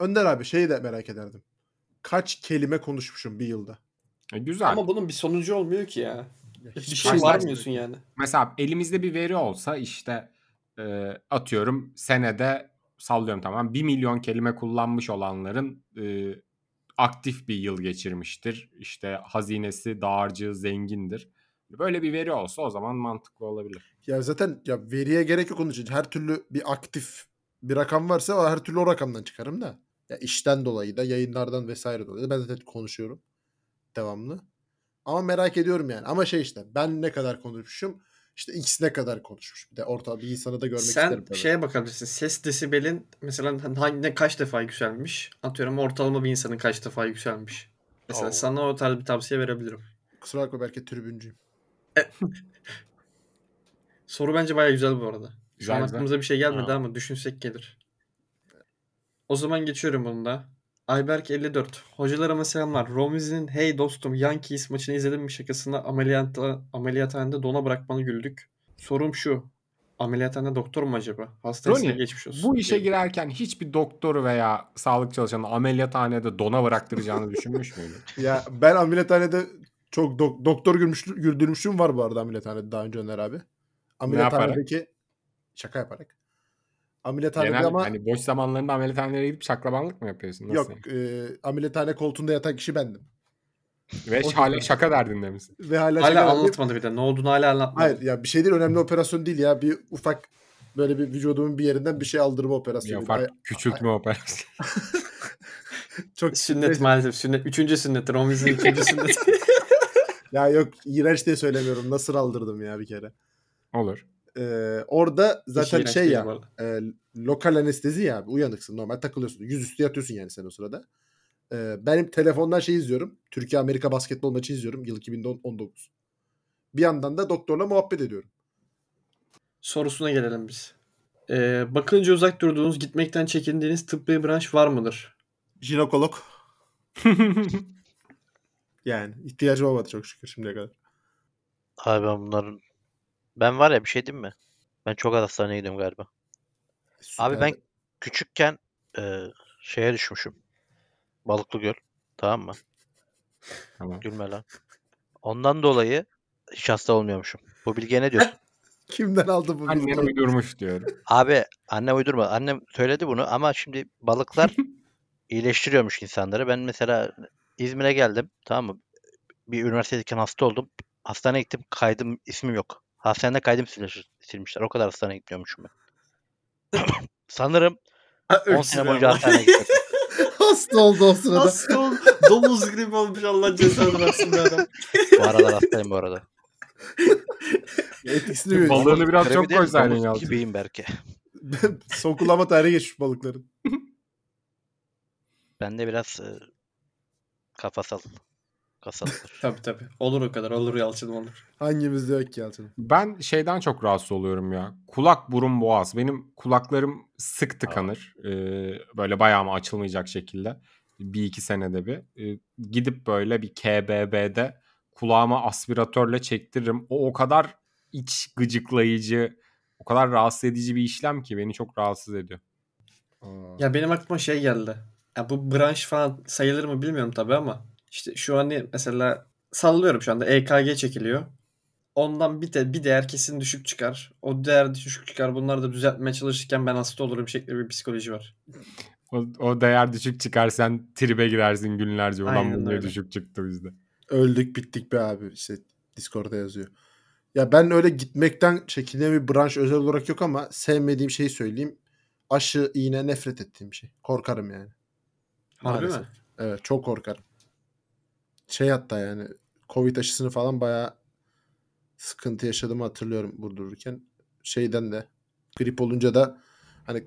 Önder abi şeyi de merak ederdim. Kaç kelime konuşmuşum bir yılda? E, güzel. Ama bunun bir sonucu olmuyor ki ya. Bir şey fark varmıyorsun yani. Mesela elimizde bir veri olsa işte e, atıyorum senede sallıyorum tamam 1 milyon kelime kullanmış olanların e, aktif bir yıl geçirmiştir. İşte hazinesi dağarcığı zengindir. Böyle bir veri olsa o zaman mantıklı olabilir. Ya zaten ya veriye gerek yok onun için. Her türlü bir aktif bir rakam varsa o her türlü o rakamdan çıkarım da. Ya işten dolayı da yayınlardan vesaire dolayı da ben zaten konuşuyorum devamlı. Ama merak ediyorum yani. Ama şey işte ben ne kadar konuşmuşum işte x ne kadar konuşmuş. Bir de orta bir insanı da görmek Sen şey- isterim tabii. şeye bakabilirsin. Ses desibelin mesela hangi, ne kaç defa yükselmiş? Atıyorum ortalama bir insanın kaç defa yükselmiş? Mesela Oo. sana o tarz bir tavsiye verebilirim. Kusura bakma belki tribüncüyüm. Soru bence baya güzel bu arada. Şu Güzel, an güzel. aklımıza bir şey gelmedi Ha. ama düşünsek gelir. O zaman geçiyorum bunu da. Ayberk 54. Hocalarıma selamlar. Romiz'in hey dostum Yankees maçını izledin mi şakasına ameliyatta, ameliyathanede dona bırakmanı güldük. Sorum şu. Ameliyathanede doktor mu acaba? Hasta Roni, isteği geçmiş olsun. Bu şey işe girerken hiçbir doktoru veya sağlık çalışanı ameliyathanede dona bıraktıracağını düşünmüş müydün? ya ben ameliyathanede çok dok- doktor gülmüşlü- güldürmüşlüğüm var bu arada ameliyathanede daha önce Öner abi. Ameliyathanedeki şaka yaparak. Ameliyathanede Genel ama hani boş zamanlarında ameliyathanelere gidip şaklabanlık mı yapıyorsun? Nasıl? Yok e, ameliyathane koltuğunda yatan kişi bendim. Ve o- hala şaka derdinde misin? Ve hala, şaka Hala yapmayıp- anlatmadı bir de. Ne olduğunu hala anlatmadı. Hayır ya bir şey değil önemli operasyon değil ya. Bir ufak böyle bir vücudumun bir yerinden bir şey aldırma operasyonu. Yapar Ay- küçültme operasyonu. Çok Sünnet maalesef. Sünnet. Üçüncü sünnet. Romiz'in üçüncü sünneti. Ya yok iğrenç diye söylemiyorum. Nasıl aldırdım ya bir kere. Olur. Ee, orada zaten İğrenç şey değil ya bu arada. e, lokal anestezi ya uyanıksın normal takılıyorsun. Yüzüstü yatıyorsun yani sen o sırada. Ee, benim telefondan şey izliyorum. Türkiye Amerika basketbol maçı izliyorum. Yıl 2019. Bir yandan da doktorla muhabbet ediyorum. Sorusuna gelelim biz. Ee, bakınca uzak durduğunuz, gitmekten çekindiğiniz tıbbi branş var mıdır? Jinekolog. Yani ihtiyacım olmadı çok şükür şimdiye kadar. Abi ben bunların... Ben var ya bir şey diyeyim mi? Ben çok az hastaneye gidiyorum galiba. Abi ben küçükken e, şeye düşmüşüm. Balıklı Göl. Tamam mı? Tamam. Gülme lan. Ondan dolayı hiç hasta olmuyormuşum. Bu bilgiye ne diyorsun? kimden aldım bu Annen bilgiyi? uydurmuş diyorum. Abi annem uydurma. Annem söyledi bunu ama şimdi balıklar iyileştiriyormuş insanları. Ben mesela İzmir'e geldim. Tamam mı? Bir üniversitedeyken hasta oldum. Hastaneye gittim. Kaydım ismim yok. Hastanede kaydım silmiş- silmişler. O kadar hastaneye gitmiyormuşum ben. Sanırım 10 sene boyunca hastaneye gittim. Hasta oldu o sırada. Hasta ol. Domuz gribi olmuş Allah cezanı versin be adam. Bu aralar hastayım bu arada. Etkisini görüyorsun. Balığını biraz Krebi çok değil mi? koysaydın Domuz Yalçın. Gibiyim belki. Ben- Son kullanma tarihi geçmiş balıkların. Ben de biraz e, kafasal. Kasalıdır. Tabii tabii. Olur o kadar. Olur Yalçın olur. Hangimizde yok ki Yalçın? Ben şeyden çok rahatsız oluyorum ya. Kulak, burun, boğaz. Benim kulaklarım sık tıkanır. Ee, böyle bayağı mı açılmayacak şekilde. Bir iki senede bir. Ee, gidip böyle bir KBB'de kulağıma aspiratörle çektiririm. O o kadar iç gıcıklayıcı, o kadar rahatsız edici bir işlem ki beni çok rahatsız ediyor. Ya benim aklıma şey geldi. Ya bu branş falan sayılır mı bilmiyorum tabii ama işte şu hani mesela sallıyorum şu anda EKG çekiliyor. Ondan bir, de, bir değer kesin düşük çıkar. O değer düşük çıkar. Bunları da düzeltmeye çalışırken ben hasta olurum şeklinde bir psikoloji var. O, o değer düşük çıkar sen tribe girersin günlerce. Ulan Aynen bu niye öyle. düşük çıktı bizde. Öldük bittik be abi. İşte Discord'da yazıyor. Ya ben öyle gitmekten çekinen bir branş özel olarak yok ama sevmediğim şeyi söyleyeyim. aşı, iğne nefret ettiğim bir şey. Korkarım yani. Harbi Maalesef. mi? Evet çok korkarım. Şey hatta yani Covid aşısını falan bayağı sıkıntı yaşadığımı hatırlıyorum vurdururken. Şeyden de grip olunca da hani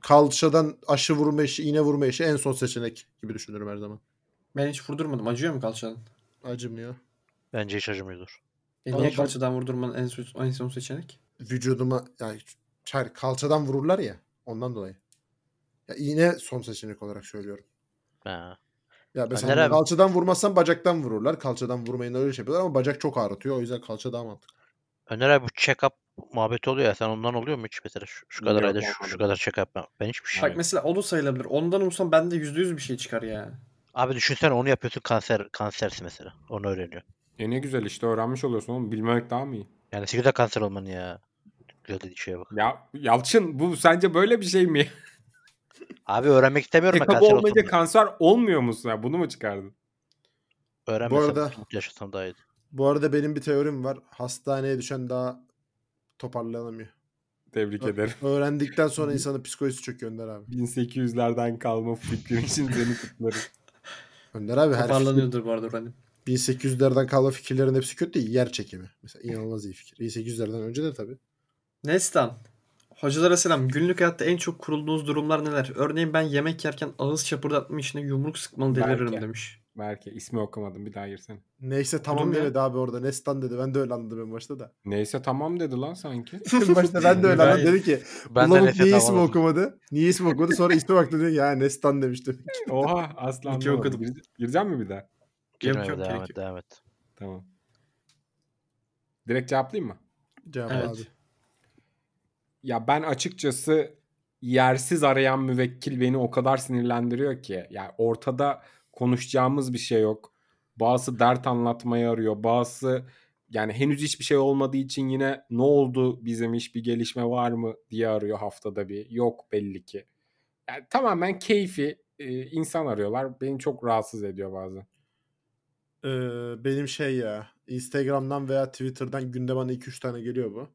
kalçadan aşı vurma işi, iğne vurma işi en son seçenek gibi düşünürüm her zaman. Ben hiç vurdurmadım. Acıyor mu kalçanın? Acımıyor. Bence hiç acımıyordur. E Ama niye ben- kalçadan vurdurmanın en son, en son seçenek? Vücuduma yani hayır, kalçadan vururlar ya ondan dolayı. Ya iğne son seçenek olarak söylüyorum. Ha. Ya mesela Önder abi. kalçadan vurmazsan bacaktan vururlar. Kalçadan vurmayın öyle şey yapıyorlar ama bacak çok ağrıtıyor. O yüzden kalça daha mantıklı. Öner abi bu check-up muhabbeti oluyor ya. Sen ondan oluyor mu hiç mesela? Şu, şu kadar Yok, ayda şu, şu olmadı. kadar check-up. Ben- Ben hiçbir şey Bak bilmiyorum. mesela o da sayılabilir. Ondan olsam bende yüzde yüz bir şey çıkar yani. Abi düşünsene onu yapıyorsun kanser kansersi mesela. Onu öğreniyor. E ne güzel işte öğrenmiş oluyorsun oğlum. Bilmemek daha mı iyi? Yani 8'de kanser olmanın ya. Güzel dediği şeye bak. Ya Yalçın bu sence böyle bir şey mi? Abi öğrenmek istemiyorum ben Check-up kanser olmayınca olmayacak kanser olmuyor musun? Ya, bunu mu çıkardın? Öğrenmesem Bu arada- mutlu yaşasam daha iyi. Bu arada benim bir teorim var. Hastaneye düşen daha toparlanamıyor. Tebrik ederim. Öğrendikten sonra insanın psikolojisi çöküyor Önder abi. 1800'lerden kalma fikrin için seni kutlarım. Önder abi her Toparlanıyordur bu arada hani. 1800'lerden kalan fikirlerin hepsi kötü değil. Yer çekimi. Mesela inanılmaz iyi fikir. 1800'lerden önce de tabii. Nestan. Hocalara selam. Günlük hayatta en çok kurulduğunuz durumlar neler? Örneğin ben yemek yerken ağız çapırdatma işine yumruk sıkmalı deliririm Belki. demiş. Belki ismi okumadım bir daha girsene. Neyse tamam Durum ya. demedi abi orada. Nestan dedi. Ben de öyle anladım en başta da. Neyse tamam dedi lan sanki. en başta ben de öyle anladım. Ben- Dedi ki Ben de Bulamık nefret niye ismi alamadım. okumadı? Niye ismi okumadı? Sonra ismi baktı dedi. Ya Nestan demiştim. Oha aslan. İki okudum. Gireceğim mi bir daha? Girme Yok, yok, abi, devam gerek et, devam et. Tamam. Direkt cevaplayayım mı? Cevap Evet. abi. Ya ben açıkçası yersiz arayan müvekkil beni o kadar sinirlendiriyor ki. Ya ortada konuşacağımız bir şey yok. Bazısı dert anlatmayı arıyor. Bazısı yani henüz hiçbir şey olmadığı için yine ne oldu bizim iş bir gelişme var mı diye arıyor haftada bir. Yok belli ki. Yani tamamen keyfi e, insan arıyorlar. Beni çok rahatsız ediyor bazen. Ee, benim şey ya Instagram'dan veya Twitter'dan günde bana 2-3 tane geliyor bu.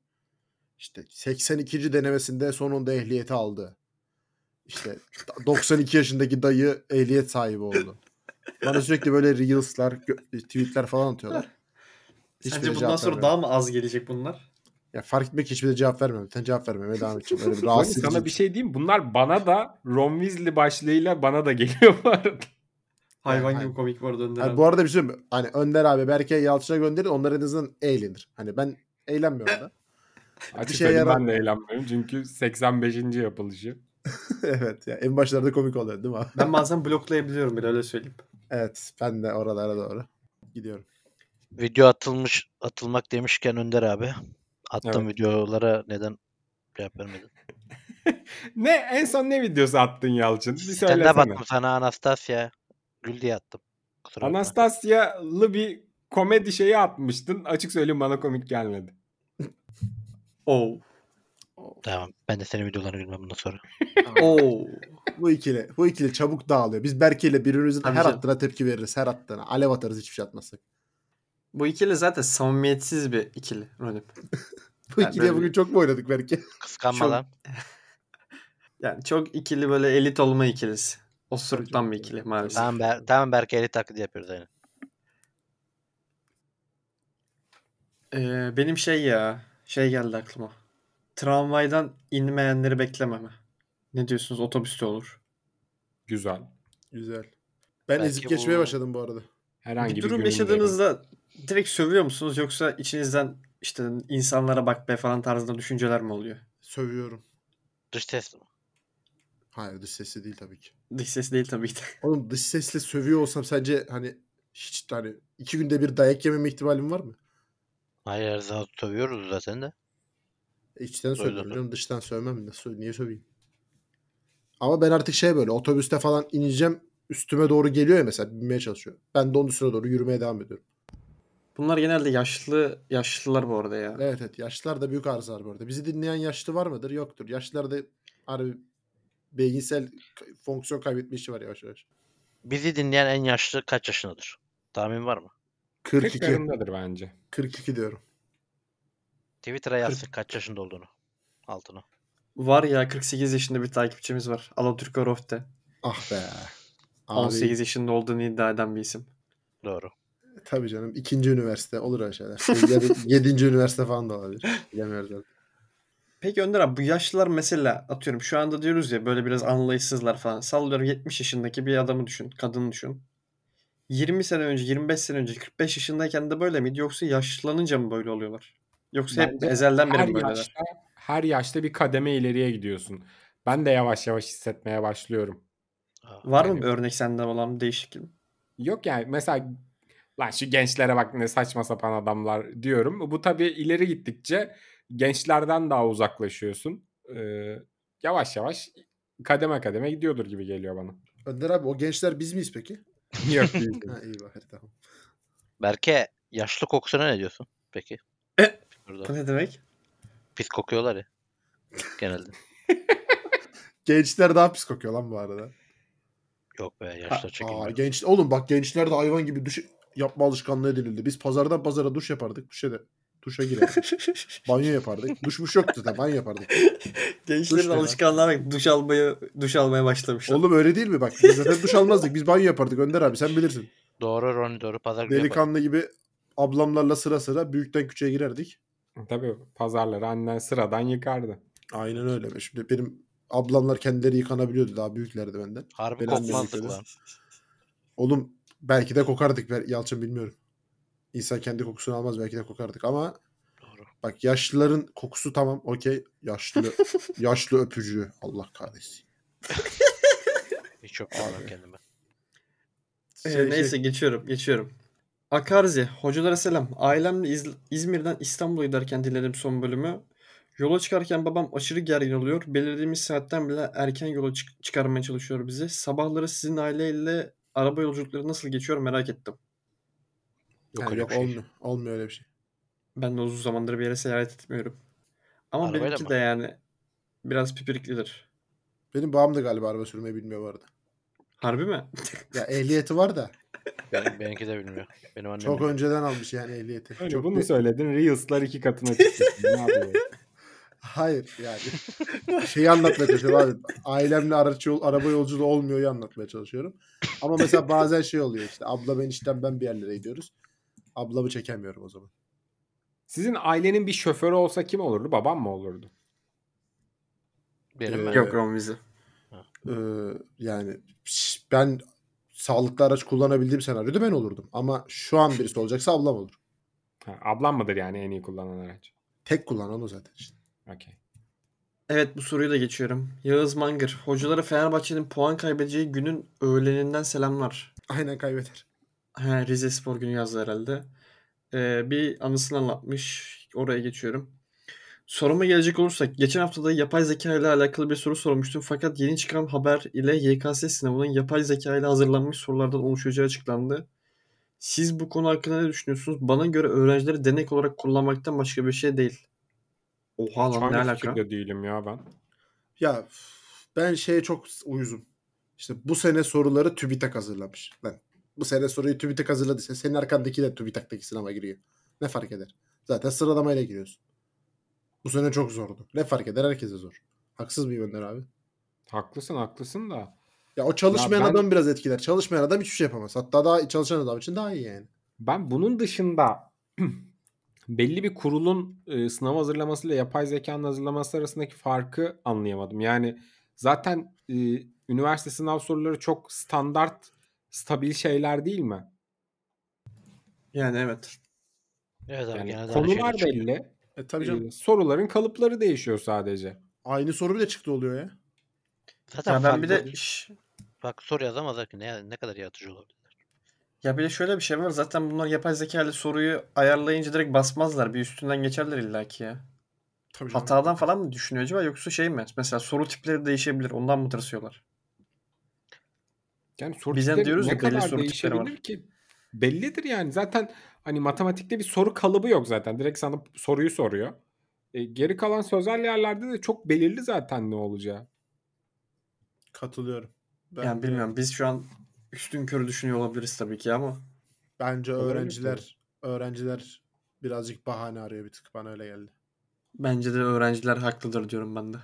İşte 82. denemesinde sonunda ehliyeti aldı. İşte 92 yaşındaki dayı ehliyet sahibi oldu. Bana sürekli böyle reels'lar, gö- e, tweet'ler falan atıyorlar. Hiçbirine Sence bundan cevap sonra vermiyorum. daha mı az gelecek bunlar? Ya fark etmek hiçbirine cevap vermiyorum. Sen cevap vermemeye devam edeceğim. Böyle bir Hani rahatsız sana edici. bir şey diyeyim. Bunlar bana da Ron Weasley başlığıyla bana da geliyor bu arada. Hayvan hayır. gibi komik bu arada Önder Hani abi. bu arada bir şey mi? Hani Önder abi Berke Yalçın'a gönderin. Onlar en azından eğlenir. Hani ben eğlenmiyorum da. Açık şey şeye söyleyeyim ben de yaramıyor. eğlenmiyorum çünkü 85. yapılışı. evet. Ya en başlarda komik oluyor değil mi abi? Ben bazen bloklayabiliyorum bile öyle söyleyeyim. Evet. Ben de oralara doğru gidiyorum. Video atılmış atılmak demişken Önder abi. Attığım Evet. videolara neden cevap vermedin? Ne en son ne videosu attın Yalçın? Bir Sen de söylesene. baktım sana Anastasya. Gül diye attım. Kusura bakma. Anastasyalı bir komedi şeyi atmıştın. Açık söyleyeyim bana komik gelmedi. Oo. Tamam. Ben de senin videolarına gülmem bundan sonra. Oo. Bu ikili, bu ikili çabuk dağılıyor. Biz Berke ile birbirimizin Tabii her canım. attığına tepki veririz. Her attığına. Alev atarız hiçbir şey atmazsak. Bu ikili zaten samimiyetsiz bir ikili. Rolip. Bu Yani ikiliye böyle- bugün çok mu oynadık Berke? Kıskanma Çok- lan. Yani çok ikili böyle elit olma ikilisi. Osuruktan bir Çok- ikili maalesef. Tamam, Ber tamam Berke eli taklidi yapıyoruz aynen. Ee, benim şey ya. Şey geldi aklıma. Tramvaydan inmeyenleri beklememe. Ne diyorsunuz? Otobüste olur. Güzel. Güzel. Ben Belki ezip geçmeye bu- başladım bu arada. Herhangi bir bir durum günün derim. yaşadığınızda direkt sövüyor musunuz? Yoksa içinizden işte insanlara bak be falan tarzında düşünceler mi oluyor? Sövüyorum. Dış ses mi? Hayır dış sesi değil tabii ki. Dış ses değil tabii ki de. Oğlum dış sesle sövüyor olsam sence hani hiç hani iki günde bir dayak yememe ihtimalim var mı? Hayır her zaman sövüyoruz zaten de. E, İçten sövüyorum tabii. canım. Dıştan sövmem. Nasıl, niye söveyim? Ama ben artık şey böyle otobüste falan ineceğim. Üstüme doğru geliyor ya mesela binmeye çalışıyor. Ben de onun üstüne doğru yürümeye devam ediyorum. Bunlar genelde yaşlı yaşlılar bu arada ya. Evet evet yaşlılar da büyük arızalar bu arada. Bizi dinleyen yaşlı var mıdır? Yoktur. Yaşlılarda harbi beyinsel k- fonksiyon kaybetme işi var yavaş yavaş. Bizi dinleyen en yaşlı kaç yaşındadır? Tahmin var mı? 42. Tekrarındadır bence. 42 diyorum. Twitter'a yazsın kaç yaşında olduğunu. Altına. Var ya 48 yaşında bir takipçimiz var. Alaturka Rofte. Ah be. Abi, 18 yaşında olduğunu iddia eden bir isim. Doğru. Tabii canım. ikinci üniversite olur öyle şeyler. Şey, ya da yedinci üniversite falan da olabilir. Bilemiyoruz artık. Peki Önder abi bu yaşlılar mesela atıyorum şu anda diyoruz ya böyle biraz anlayışsızlar falan. Sallıyorum 70 yaşındaki bir adamı düşün. Kadını düşün. 20 sene önce 25 sene önce 45 yaşındayken de böyle miydi yoksa yaşlanınca mı böyle oluyorlar? Yoksa hep Bence ezelden beri her mi böyleler? yaşta, her yaşta bir kademe ileriye gidiyorsun. Ben de yavaş yavaş hissetmeye başlıyorum. Aa, Var mı Yani- bir örnek senden olan bir değişiklik? Yok yani mesela lan şu gençlere bak ne saçma sapan adamlar diyorum. Bu tabii ileri gittikçe gençlerden daha uzaklaşıyorsun. Ee, yavaş yavaş kademe kademe gidiyordur gibi geliyor bana. Önder abi o gençler biz miyiz peki? Yok değil. Ha, iyi bari tamam. Berke yaşlı kokusuna ne diyorsun peki? E? Bu Burada. ne demek? Pis kokuyorlar ya. Genelde. Gençler daha pis kokuyor lan bu arada. Yok be yaşlı Aa, çekilmiyor. genç, oğlum bak gençler de hayvan gibi duş yapma alışkanlığı edinildi. Biz pazardan pazara duş yapardık. Duşa, da, duşa girerdik. banyo yapardık. Duşmuş yoktu da banyo yapardık. Gençlerin Duş ne lan? alışkanlığı duş almaya duş almaya başlamışlar. Oğlum öyle değil mi bak? Biz zaten duş almazdık. Biz banyo yapardık Önder abi sen bilirsin. Doğru Ronnie doğru pazar günü yapalım. Delikanlı gibi ablamlarla sıra sıra büyükten küçüğe girerdik. tabii pazarları annen sıradan yıkardı. Aynen öyle. Şimdi benim ablamlar kendileri yıkanabiliyordu daha büyüklerdi benden. Harbi Beni annem kokmazdık yıkadı. lan. Oğlum belki de kokardık ben Yalçın bilmiyorum. İnsan kendi kokusunu almaz belki de kokardık ama Doğru. bak yaşlıların kokusu tamam okey. Yaşlı yaşlı öpücüğü Allah kahretsin. Hiç yok lan kendime. Ee, Şey, neyse şey, geçiyorum geçiyorum. Akarzi, hocalara selam. Ailemle İz- İzmir'den İstanbul'a giderken dinledim son bölümü. Yola çıkarken babam aşırı gergin oluyor. Belirlediğimiz saatten bile erken yola çık- çıkarmaya çalışıyor bizi. Sabahları sizin aileyle araba yolculukları nasıl geçiyor merak ettim. Yok ha, öyle yok bir şey. olmuyor. Olmuyor öyle bir şey. Ben de uzun zamandır bir yere seyahat etmiyorum. Ama Arabayla benimki mı? de yani biraz pipiriklidir. Benim babam da galiba araba sürmeyi bilmiyor bu arada. Harbi mi? Ya ehliyeti var da Benim, benimki de bilmiyor. Benim annem çok bilmiyor. önceden almış yani ehliyeti. Öyle Çok bunu bir- söyledin Reels'lar iki katına çıktı. ne yapıyor? Hayır yani. Şeyi anlatmaya çalışıyorum abi. Ailemle araç yol, araba yolculuğu olmuyor anlatmaya çalışıyorum. Ama mesela bazen şey oluyor işte. Abla ben işten ben bir yerlere gidiyoruz. Ablamı çekemiyorum o zaman. Sizin ailenin bir şoförü olsa kim olurdu? Babam mı olurdu? Benim Ee, ben. yok. Yok Romvizi. Ee, yani şş, ben sağlıklı araç kullanabildiğim senaryoda ben olurdum. Ama şu an birisi olacaksa ablam olur. Ha, ablam mıdır yani en iyi kullanan araç? Tek kullanan o zaten işte. Okey. Evet bu soruyu da geçiyorum. Yağız Mangır. Hocalara Fenerbahçe'nin puan kaybedeceği günün öğleninden selamlar. Aynen kaybeder. He, Rize Spor günü yazdı herhalde. Ee, bir anısını anlatmış. Oraya geçiyorum. Soruma gelecek olursak geçen haftada yapay zeka ile alakalı bir soru sormuştum fakat yeni çıkan haber ile YKS sınavının yapay zeka ile hazırlanmış sorulardan oluşacağı açıklandı. Siz bu konu hakkında ne düşünüyorsunuz? Bana göre öğrencileri denek olarak kullanmaktan başka bir şey değil. Oha lan Şu an ne hiç alaka? fikirde değilim ya ben. Ya üf, ben şeye çok uyuzum. İşte bu sene soruları TÜBİTAK hazırlamış. Lan, bu sene soruyu TÜBİTAK hazırladıysa senin arkandaki de TÜBİTAK'taki sınava giriyor. Ne fark eder? Zaten sıralamayla giriyorsun. Bu sene çok zordu. Ne fark eder? Herkese zor. Haksız mıyım Önder abi? Haklısın haklısın da. Ya o çalışmayan Ya ben- adam biraz etkiler. Çalışmayan adam hiçbir şey yapamaz. Hatta daha çalışan adam için daha iyi yani. Ben bunun dışında belli bir kurulun e, sınav hazırlamasıyla yapay zekanın hazırlaması arasındaki farkı anlayamadım. Yani zaten e, üniversite sınav soruları çok standart, stabil şeyler değil mi? Yani evet. Evet abi Yani genelde aynı konular şeyler çıkıyor. belli. E tabii e, soruların kalıpları değişiyor sadece. Aynı soru bile çıktı oluyor ya. Zaten Ya ben bir de farklı- Şş. farklı soru yazamazlar ki ne, ne kadar yaratıcı olabilirler. Ya bir de şöyle bir şey var. Zaten bunlar yapay zeka ile soruyu ayarlayınca direkt basmazlar. Bir üstünden geçerler illaki ya. Tabii canım. Hatadan falan mı düşünüyor acaba yoksa şey mi? Mesela soru tipleri değişebilir. Ondan mı tırsıyorlar? Yani soru Biz yani tipleri diyoruz ne ya, belli kadar soru tipleri var. değişebilir ki? Bellidir yani. Zaten hani matematikte bir soru kalıbı yok zaten. Direkt sana soruyu soruyor. E, geri kalan sözel yerlerde de çok belirli zaten ne olacağı. Katılıyorum. Ben yani bilmiyorum. Biz şu an üstün körü düşünüyor olabiliriz tabii ki ama. Bence Olabilir öğrenciler öğrenciler birazcık bahane arıyor bir tık. Bana öyle geldi. Bence de öğrenciler haklıdır diyorum ben de.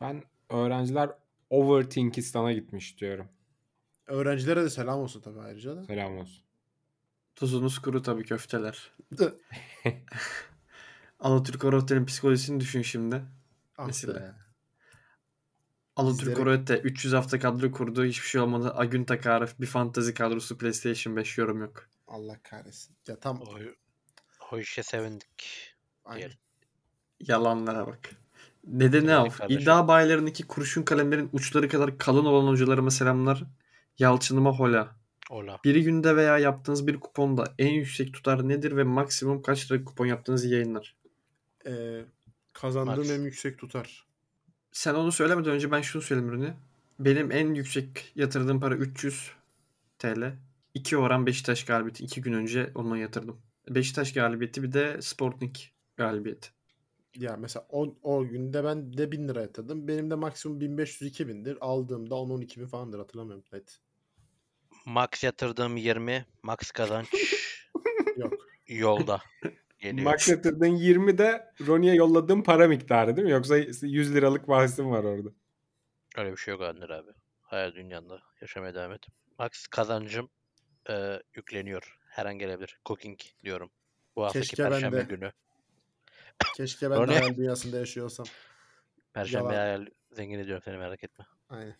Ben öğrenciler Overthinkistan'a gitmiş diyorum. Öğrencilere de selam olsun tabii ayrıca da. Selam olsun. Tuzunuz kuru tabii köfteler. Dı. Alaturk Orotte'nin psikolojisini düşün şimdi. Ah be. Mesela. Alaturk Bizlere- Orotte 300 hafta kadro kurdu. Hiçbir şey olmadı. Agün Takarif bir fantezi kadrosu PlayStation 5 yorum yok. Allah kahretsin. Ya tam O, o işe sevindik. aynı. diyelim. Yalanlara bak. Nedeni av. kardeşim. İddia bayilerindeki kurşun kalemlerin uçları kadar kalın olan hocalarıma selamlar. Yalçınıma hola. Ola. Bir günde veya yaptığınız bir kuponda en yüksek tutar nedir ve maksimum kaç lira kupon yaptığınızı yayınlar. Ee, kazandığım Mars. en yüksek tutar. Sen onu söylemeden önce ben şunu söyleyeyim ürünü. Benim en yüksek yatırdığım para 300 TL. 2 oran Beşiktaş galibiyeti. 2 gün önce onunla yatırdım. Beşiktaş galibiyeti bir de Sporting galibiyeti. Ya mesela o, o günde ben de 1000 lira yatırdım. Benim de maksimum 1500-2000'dir. Aldığımda 10-12 bin falandır hatırlamıyorum net. Max yatırdığım 20. Max kazanç Yok. yolda. Geliyor. Max yatırdığın 20 de Roni'ye yolladığın para miktarı değil mi? Yoksa 100 liralık bahsim var orada. Öyle bir şey yok Andır abi. Hayal dünyanda yaşamaya devam et. Max kazancım e, yükleniyor. Her an gelebilir. Cooking diyorum. Bu haftaki Keşke ben Perşembe de- günü. Keşke ben de Örneğin- hayal dünyasında yaşıyor olsam. Perşembe Yalan. hayal zengin ediyorum seni merak etme. Aynen.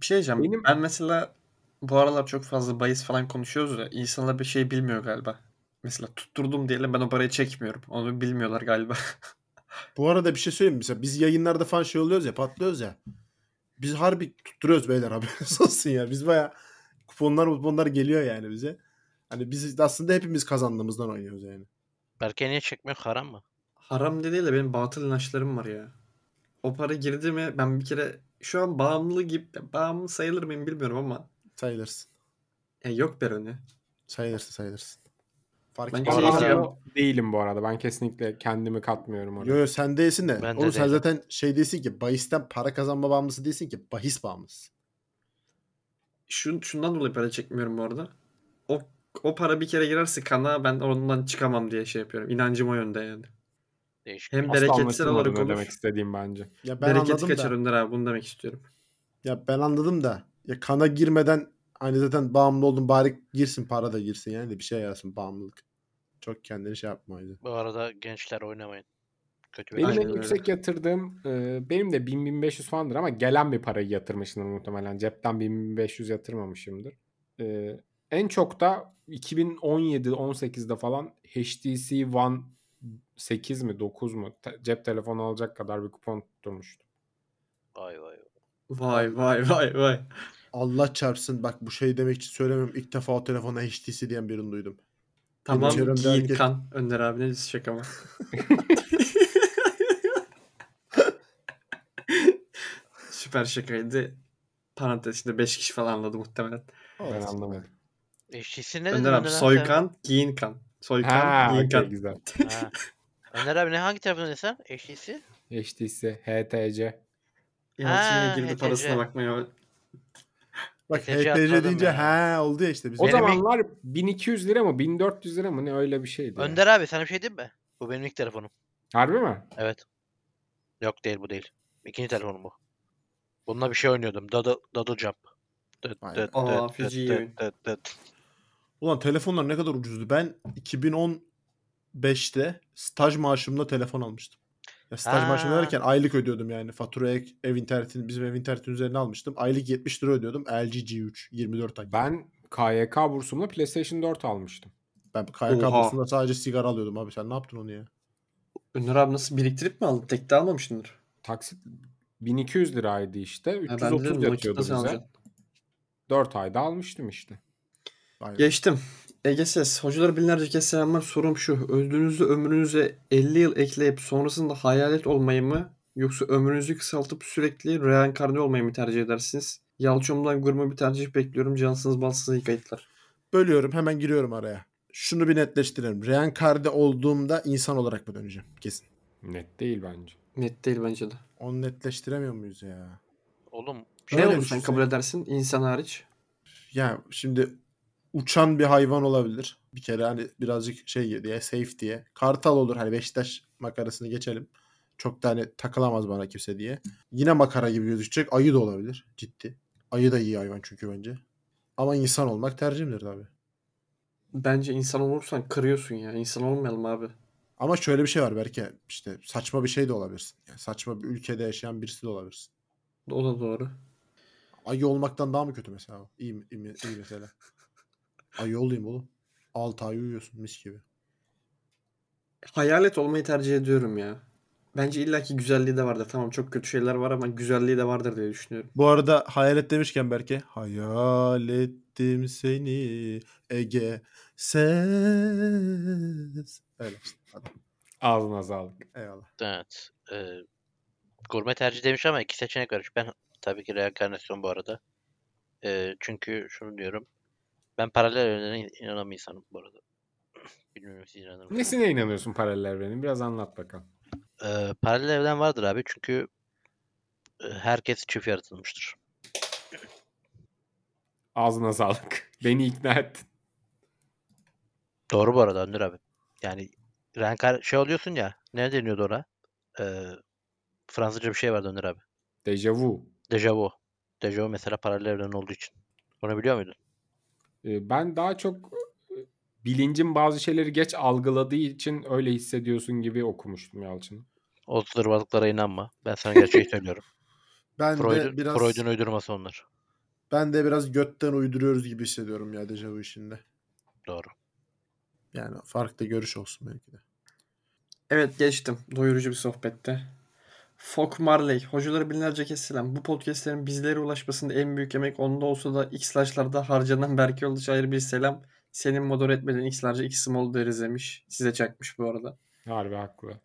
Bir şey diyeceğim. Benim- Ben mesela bu aralar çok fazla bahis falan konuşuyoruz ya. İnsanlar bir şey bilmiyor galiba. Mesela tutturdum diyelim ben o parayı çekmiyorum. Onu bilmiyorlar galiba. Bu arada bir şey söyleyeyim mi? Mesela biz yayınlarda falan şey oluyoruz ya patlıyoruz ya. Biz harbi tutturuyoruz beyler haberiniz olsun ya. Biz baya kuponlar kuponlar geliyor yani bize. Hani biz aslında hepimiz kazandığımızdan oynuyoruz yani. Berke niye çekmiyor? Haram mı? Haram dediği de benim batıl inançlarım var ya. O para girdi mi ben bir kere şu an bağımlı gibi bağımlı sayılır mıyım bilmiyorum ama Sayılırsın. e, yok Beroni. Sayılırsın sayılırsın. Fark Ben etmez. Ben Kesinlikle. bağımlı değilim bu arada. Ben kesinlikle kendimi katmıyorum orada. Yo yo sen değilsin de. Ben de Oğlum sen değilim. zaten şey değilsin ki bahisten para kazanma bağımlısı değilsin ki bahis bağımlısı. Şun, şundan dolayı para çekmiyorum bu arada. O, o para bir kere girerse kana ben ondan çıkamam diye şey yapıyorum. İnancım o yönde yani. Değişik. Hem Asla bereketsel anlaşılmadı olarak ne olur. demek istediğim bence. Ya ben Bereketi anladım kaçar da. Önder abi bunu demek istiyorum. Ya ben anladım da. Ya kana girmeden hani zaten bağımlı oldun bari girsin para da girsin yani de bir şey yarasın bağımlılık. Çok kendini şey yapmaydı. Bu arada gençler oynamayın. Kötü bir Benim şey. Aynen en öyle. yüksek yatırdığım e, benim de 1000-1500 falandır ama gelen bir parayı yatırmışımdır muhtemelen. Cepten 1500 yatırmamışımdır. E, en çok da 2017-18'de falan HTC One 8 mi 9 mu te- cep telefonu alacak kadar bir kupon tutturmuştum. Vay vay. vay. Vay vay vay vay. Allah çarpsın bak bu şey demek için söylemiyorum. İlk defa o telefona HTC diyen birini duydum. Tamam Benim çevremde giyin herkes- kan. Önder abi ne diyorsun şaka mı? Süper şakaydı. Parantez içinde 5 kişi falan anladı muhtemelen. Ben Olsun. anlamadım. Eşçisi ne dedin Önder abi abi soykan giyin kan. Soykan Ha, giyin okey, kan. güzel. sen? Ha. Önder abi ne hangi tarafından sen? Eşçisi? HTC, HTC. Yalçın yine Ha, girdi HTC. parasına bakmıyor. Bak Tecavüz HTC atladım deyince ya. he oldu ya işte. Bizim. O Benim ilk- zamanlar 1200 lira mı 1400 lira mı ne öyle bir şeydi. yani. Önder abi sana bir şey diyeyim mi? Bu benim ilk telefonum. Harbi mi? Evet. Yok değil bu değil. İkinci telefonum bu. Bununla bir şey oynuyordum. Double, double jump. Dıt Vay be. dıt Aa, dıt feci dıt oyun. dıt dıt. Ulan telefonlar ne kadar ucuzdu. Ben 2015'te staj maaşımla telefon almıştım. Ya staj Ha. maaşım derken aylık ödüyordum yani. Faturaya ev internetini bizim ev internetin üzerine almıştım. Aylık 70 lira ödüyordum. LG G3 24 ay. Ben KYK bursumla PlayStation 4 almıştım. Ben KYK Oha. bursunda sadece sigara alıyordum abi. Sen ne yaptın onu ya? Önder abi nasıl biriktirip mi aldın? Tek de almamışsındır. Taksit 1200 liraydı işte. Ha, ben de 330 dedim, yatıyordu nakitle sen bize. alacaksın. 4 ayda almıştım işte. Aynen. Geçtim. Ege Ses. Hocalar binlerce kez selamlar. Sorum şu. Öldüğünüzde ömrünüze 50 yıl ekleyip sonrasında hayalet olmayı mı yoksa ömrünüzü kısaltıp sürekli reenkarne olmayı mı tercih edersiniz? Yalçın'dan gurme bir tercih bekliyorum. Cansız balsız iyi kayıtlar. Bölüyorum hemen giriyorum araya. Şunu bir netleştirelim. Reenkarde olduğumda insan olarak mı döneceğim? Kesin. Net değil bence. Net değil bence de. Onu netleştiremiyor muyuz ya? Oğlum ne Öyle olur bir sen şey. kabul edersin insan hariç? Ya şimdi uçan bir hayvan olabilir. Bir kere hani birazcık şey diye safe diye. Kartal olur hani Beşiktaş makarasını geçelim. Çok da hani takılamaz bana kimse diye. Yine makara gibi gözükecek. Ayı da olabilir. Ciddi. Ayı da iyi hayvan çünkü bence. Ama insan olmak tercihimdir tabii. Bence insan olursan kırıyorsun ya. İnsan olmayalım abi. Ama şöyle bir şey var belki işte saçma bir şey de olabilirsin. Yani saçma bir ülkede yaşayan birisi de olabilirsin. O da doğru. Ayı olmaktan daha mı kötü mesela? o? İyi, mi- iyi, mi- iyi mesela. Ayı olayım oğlum. 6 ay uyuyorsun mis gibi. Hayalet olmayı tercih ediyorum ya. Bence illaki güzelliği de vardır. Tamam çok kötü şeyler var ama güzelliği de vardır diye düşünüyorum. Bu arada hayalet demişken belki hayal ettim seni Ege ses. Öyle işte. Hadi, Ağzına sağlık. eyvallah. Evet. Ee, gurme tercih demiş ama iki seçenek var. Ben tabii ki reenkarnasyon bu arada. Ee, çünkü şunu diyorum. Ben paralel evrene inanan bir insanım bu arada. Bilmiyorum siz inanır mısınız? Nesine inanıyorsun paralel evrenin? Biraz anlat bakalım. Ee, paralel evren vardır abi çünkü e, herkes çift yaratılmıştır. Ağzına sağlık. Beni ikna ettin. Doğru bu arada Önder abi. Yani renkar şey oluyorsun ya ne deniyordu ona? Ee, Fransızca bir şey vardı Önder abi. Dejavu. Dejavu. Dejavu mesela paralel evren olduğu için. Onu biliyor muydun? Ee, Ben daha çok e, bilincin bazı şeyleri geç algıladığı için öyle hissediyorsun gibi okumuştum Yalçın. O zırvalıklara inanma. Ben sana gerçeği söylüyorum. Ben de Freud'un biraz Freud'un uydurması onlar. ben de biraz götten uyduruyoruz gibi hissediyorum ya dejavu işinde. Doğru. Yani farklı görüş olsun belki de. Evet geçtim. Doyurucu bir sohbette. Fok Marley. Hocaları binlerce kez selam. Bu podcastlerin bizlere ulaşmasında en büyük emek onda olsa da X'laşlarda harcanan Berke Yoldaş'a ayrı bir selam. Senin moder etmeden X'larca X'im oldu deriz demiş. Size çakmış bu arada. Harbi haklı.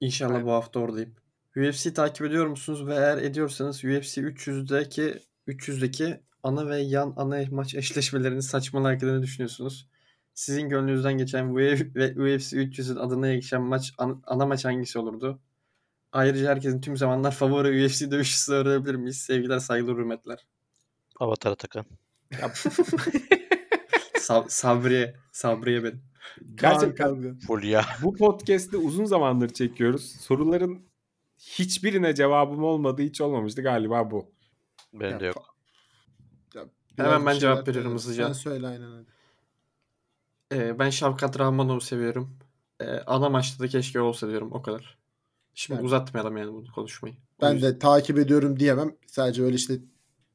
İnşallah bu hafta oradayım. UFC takip ediyor musunuz ve eğer ediyorsanız UFC 300'deki 300'deki ana ve yan ana maç eşleşmelerini saçmalarken ne düşünüyorsunuz? Sizin gönlünüzden geçen UFC ve UFC 300'ün adına yakışan maç an- ana maç hangisi olurdu? Ayrıca herkesin tüm zamanlar favori UFC dövüşçüsü öğrenebilir miyiz? Sevgiler, saygılar, hürmetler. Avatar Atakan. Sab- Sabriye, Sabriye benim. Gerçekten Full ya. bu podcast'i uzun zamandır çekiyoruz. Soruların hiçbirine cevabım olmadığı hiç olmamıştı galiba bu. Benim de Ya, yok. Hemen Biraz ben bir cevap şeyler veriyorum söyle. hızlıca. şey Sen söyle aynen öyle. Ee, ben Şavkat Rahmanov'u seviyorum. Ee, ana maçta da keşke olsa diyorum o kadar. Şimdi Yani- uzatmayalım yani bunu konuşmayı. O Ben yüzden- de takip ediyorum diyemem. Sadece böyle işte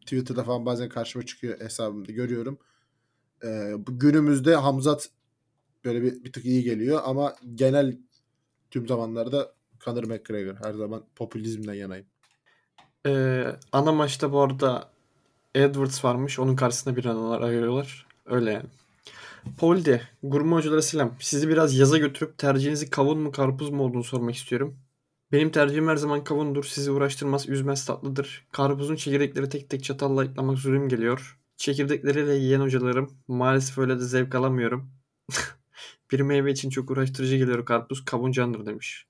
Twitter'da falan bazen karşıma çıkıyor hesabımda görüyorum. Ee, bu günümüzde Hamzat böyle bir, bir tık iyi geliyor ama genel tüm zamanlarda Conor McGregor. Her zaman popülizmden yanayım. Ee, ana maçta bu arada Edwards varmış. Onun karşısında bir analar ayırıyorlar. Öyle yani. Poldi, gurme hocalara selam. Sizi biraz yaza götürüp tercihinizi kavun mu karpuz mu olduğunu sormak istiyorum. Benim tercihim her zaman kavundur. Sizi uğraştırmaz, üzmez, tatlıdır. Karpuzun çekirdekleri tek tek çatalla ayıklamak zulüm geliyor. Çekirdekleriyle yiyen hocalarım. Maalesef öyle de zevk alamıyorum. bir meyve için çok uğraştırıcı geliyor karpuz. Kavun candır demiş.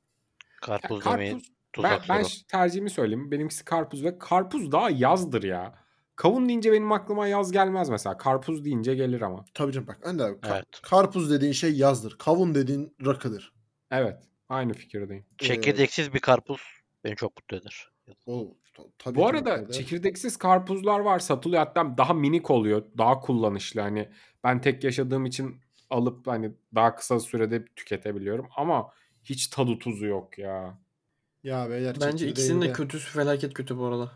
Ya Karpuz demeyi karpuz, ben, tuzak ben soru. ş- tercihimi söyleyeyim. Benimkisi karpuz ve karpuz daha yazdır ya. Kavun deyince benim aklıma yaz gelmez mesela. Karpuz deyince gelir ama. Tabii canım bak Önder abi, ka- Evet. karpuz dediğin şey yazdır. Kavun dediğin rakıdır. Evet. Aynı fikirdeyim. e, Çekirdeksiz bir karpuz beni çok mutlu eder. O, ta- tabii Bu ki arada mutlaka. çekirdeksiz karpuzlar var satılıyor. Hatta daha minik oluyor. Daha kullanışlı. Hani ben tek yaşadığım için alıp hani daha kısa sürede tüketebiliyorum. Ama hiç tadı tuzu yok ya. ya beyler Bence çekirdeğini ikisinin de de- kötüsü felaket kötü bu arada.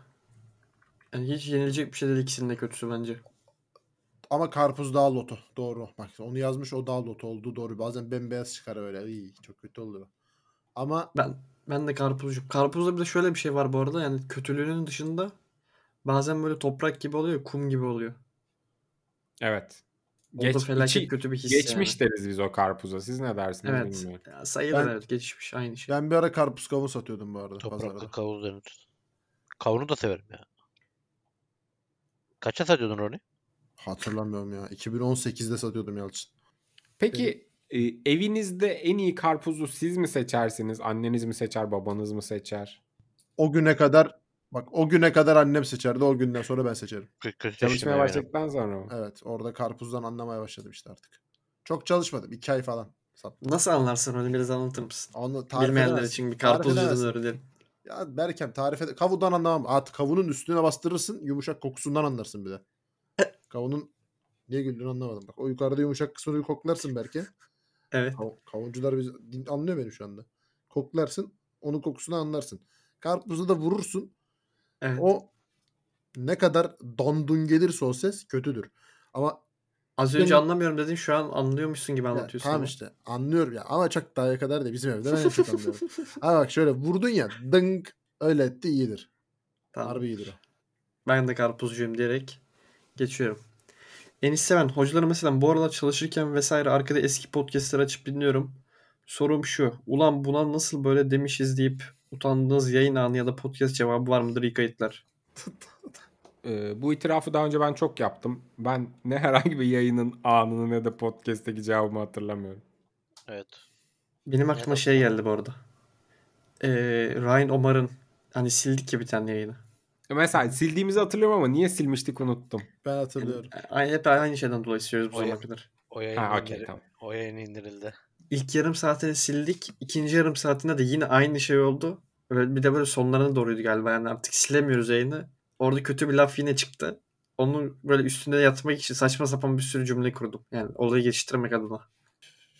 Yani hiç yenilecek bir şey değil ikisinin de kötüsü bence. Ama karpuz daha loto. Doğru. Bak onu yazmış o daha loto oldu. Doğru. Bazen bembeyaz çıkar öyle. İyi, çok kötü oluyor. Ama Ben ben de karpuzcuyum. Karpuzda bir de şöyle bir şey var bu arada yani kötülüğünün dışında bazen böyle toprak gibi oluyor, kum gibi oluyor. Evet. O da felaket içi- kötü bir his geçmiş deriz biz o karpuza. Siz ne dersiniz yani. Evet. bilmiyorum. Ya sayılır Ben- evet geçmiş aynı şey. ben bir ara karpuz kavun satıyordum bu arada Topraklı pazarda. kavun denir. Kavunu da severim ya. Kaça satıyordun Roni? Hatırlamıyorum ya. 2018'de satıyordum Yalçın. Peki e, evinizde en iyi karpuzu siz mi seçersiniz? Anneniz mi seçer, babanız mı seçer? O güne kadar bak o güne kadar annem seçerdi. O günden sonra ben seçerim. Kö- Kötü seçtim Çalışmaya ya benim. başladıktan sonra mı? Evet. Orada karpuzdan anlamaya başladım işte artık. Çok çalışmadım. 2 ay falan. sattı. Nasıl anlarsın onu biraz anlatır mısın? Onu tarif Bilmeyenler edemezsin. için bir Tarif karpuzcudan edemezsin. öğrenelim. Ya Berkem tarif ede- Kavudan anlamam. Artık kavunun üstüne bastırırsın. Yumuşak kokusundan anlarsın bir de. Kavunun niye güldüğünü anlamadım. Bak o yukarıda yumuşak kısmını bir koklarsın belki. Evet. Kav- kavuncular biz din- anlıyor beni şu anda. Koklarsın. Onun kokusunu anlarsın. Karpuzu da vurursun. Evet. O ne kadar dandun gelirse o ses kötüdür. Ama Az önce Benim- anlamıyorum dedin şu an anlıyormuşsun gibi Ya anlatıyorsun. tamam ama. işte anlıyorum ya ama çok daha kadar da bizim evde ben en çok anlıyorum. Abi bak şöyle vurdun ya dınk öyle etti iyidir. Tamam. Harbi iyidir o. Ben de karpuzcuyum diyerek geçiyorum. Enis Seven. Hocaları mesela bu aralar çalışırken vesaire arkada eski podcastları açıp dinliyorum. Sorum şu. Ulan buna nasıl böyle demişiz deyip utandığınız yayın anı ya da podcast cevabı var mıdır iyi kayıtlar? Ee, bu itirafı daha önce ben çok yaptım. Ben ne herhangi bir yayının anını ne de podcast'teki cevabımı hatırlamıyorum. Evet. Benim aklıma Evet. şey geldi bu arada. Ee, Ryan Omar'ın hani sildik ya bir tane yayını. E, Mesela sildiğimizi hatırlıyorum ama niye silmiştik unuttum. Ben hatırlıyorum. Ay- hep aynı şeyden dolayı söylüyoruz bu O ya- zamana kadar. O yayın, Ha okey indir- tamam. o yayın indirildi. İlk yarım saatini sildik. ikinci yarım saatinde de yine aynı şey oldu. Böyle bir de böyle sonlarına doğruydu galiba. Yani artık silemiyoruz yayını. Orada kötü bir laf yine çıktı. Onun böyle üstüne yatmak için saçma sapan bir sürü cümle kurdum. Yani olayı geçiştirmek adına.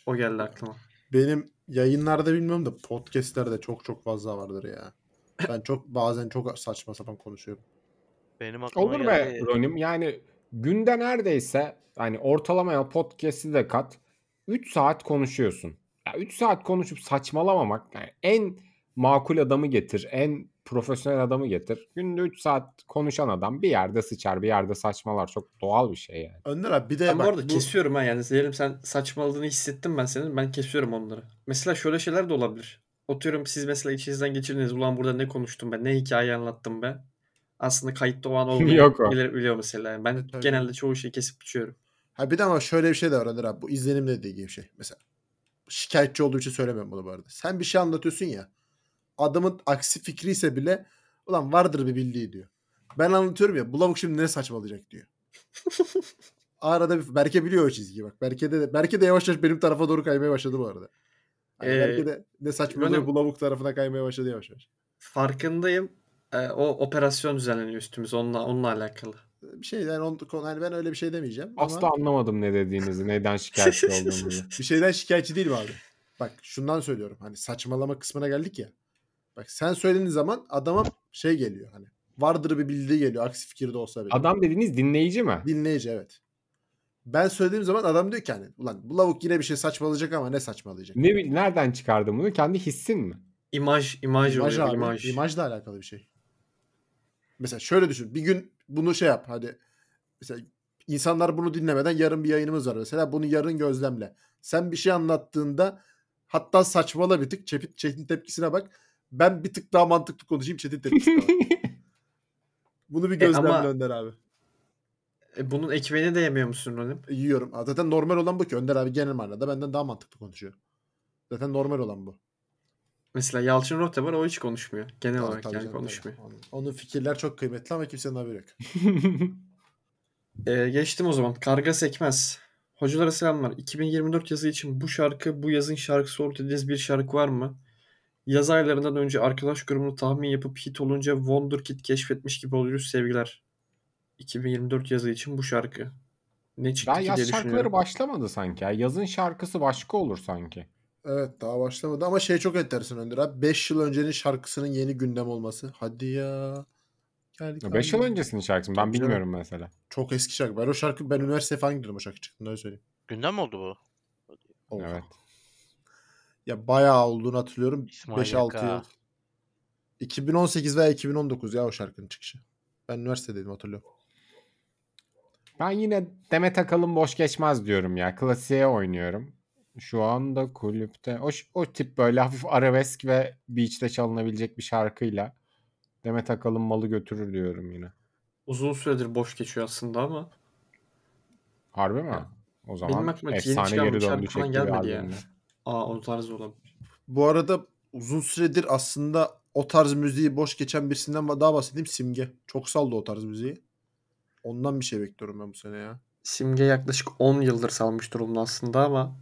O geldi aklıma. Benim yayınlarda bilmiyorum da podcastlerde çok çok fazla vardır ya. Ben çok bazen çok saçma sapan konuşuyorum. Benim aklıma Olur be geldi. Ronim. Yani günde neredeyse hani ortalamaya podcast'i de kat 3 saat konuşuyorsun. Ya 3 saat konuşup saçmalamamak yani en makul adamı getir, en profesyonel adamı getir. Günde 3 saat konuşan adam bir yerde sıçar, bir yerde saçmalar. Çok doğal bir şey yani. Önder abi bir de Ben bu bak, arada kesiyorum ha yani. Diyelim sen saçmaladığını hissettim ben senin. Ben kesiyorum onları. Mesela şöyle şeyler de olabilir. Oturuyorum siz mesela içinizden geçirdiniz. Ulan burada ne konuştum ben? Ne hikaye anlattım ben? Aslında kayıtta o an olmuyor. Yok o. Bilir- biliyor mesela. Yani ben E, tabii. genelde çoğu şeyi kesip biçiyorum. ha bir de ama şöyle bir şey de var Önder abi. Bu izlenim dediği şey. Mesela şikayetçi olduğu için söylemiyorum bunu bu arada. Sen bir şey anlatıyorsun ya. Adamın aksi fikri ise bile ulan vardır bir bildiği diyor. Ben anlatıyorum ya. Bu lavuk şimdi ne saçmalayacak diyor. Arada bir Berke biliyor o çizgiyi bak. Berke de, Berke de yavaş yavaş benim tarafa doğru kaymaya başladı bu arada. Hani Ee, Berke de ne saçmalıyor Ronim- bu lavuk tarafına kaymaya başladı yavaş yavaş. Farkındayım. E, o operasyon düzenleniyor üstümüze. Onunla, onunla alakalı. bir şey yani, on, konu- hani ben öyle bir şey demeyeceğim. Asla Ama anlamadım ne dediğinizi, neyden şikayetçi olduğunuzu. bir şeyden şikayetçi değilim abi. Bak şundan söylüyorum. Hani saçmalama kısmına geldik ya. Bak sen söylediğin zaman adama şey geliyor hani. Vardır bir bildiği geliyor. Aksi fikirde olsa bile. Adam dediğiniz dinleyici mi? Dinleyici evet. Ben söylediğim zaman adam diyor ki hani ulan bu lavuk yine bir şey saçmalayacak ama ne saçmalayacak? Ne bil- nereden çıkardın bunu? Kendi hissin mi? İmaj, imaj, İmaj oluyor. abi. imaj. İmajla alakalı bir şey. Mesela şöyle düşün. Bir gün bunu şey yap hadi. Mesela insanlar bunu dinlemeden yarın bir yayınımız var mesela. Bunu yarın gözlemle. Sen bir şey anlattığında hatta saçmala bir tık. Çetin, Çetin tepkisine bak. Ben bir tık daha mantıklı konuşayım Çetin tepkisine bak. Bunu bir E ama- gözlemle Önder abi. E, bunun ekmeğini de yemiyor musun Rolim? E, Yiyorum. Ha, Zaten normal olan bu ki Önder abi genel manada benden daha mantıklı konuşuyor. Zaten normal olan bu. Mesela Yalçın Rohde var o hiç konuşmuyor. Genel Tabii, olarak tabii yani canım, tabii. konuşmuyor. Onun- Onun fikirler çok kıymetli ama kimsenin haberi yok. Ee, geçtim o zaman. Karga sekmez. Hocalara selamlar. 2024 yazı için bu şarkı, bu yazın şarkısı olur dediğiniz bir şarkı var mı? Yaz aylarından önce arkadaş grubunu tahmin yapıp hit olunca Wonderkid keşfetmiş gibi oluyoruz sevgiler. 2024 yazı için bu şarkı. Ne çıktı Daha ki yaz diye düşünüyorum. şarkıları başlamadı sanki. ya. Yazın şarkısı başka olur sanki. Evet daha başlamadı ama şey çok enteresan Önder abi. 5 yıl öncenin şarkısının yeni gündem olması. Hadi ya. Gel, gel. 5 yıl öncesinin şarkısını ben Tabii canım. bilmiyorum mesela. Çok eski şarkı. Ben o şarkı ben üniversite falan girdim o şarkı çıktığında öyle söyleyeyim. Gündem oldu bu. Oha. Evet. Ya bayağı olduğunu hatırlıyorum. İsmail 5-6 Yaka. yıl. 2018 veya 2019 ya o şarkının çıkışı. Ben üniversitedeydim hatırlıyorum. Ben yine Demet Akalın boş geçmez diyorum ya. Klasiğe oynuyorum. Şu anda kulüpte o, ş- o tip böyle hafif arabesk ve beach'te çalınabilecek bir şarkıyla Demet Akalın malı götürür diyorum yine. Uzun süredir boş geçiyor aslında ama Harbi mi? O zaman Benim aklıma yeni efsane çıkan bir geri döndü şarkı falan şekli bir gelmedi ya. albümle. aa o tarz olabilir. Bu arada uzun süredir aslında o tarz müziği boş geçen birisinden daha bahsedeyim. Simge. Çok saldı o tarz müziği. Ondan bir şey bekliyorum ben bu sene ya. Simge yaklaşık 10 yıldır salmış durumda aslında ama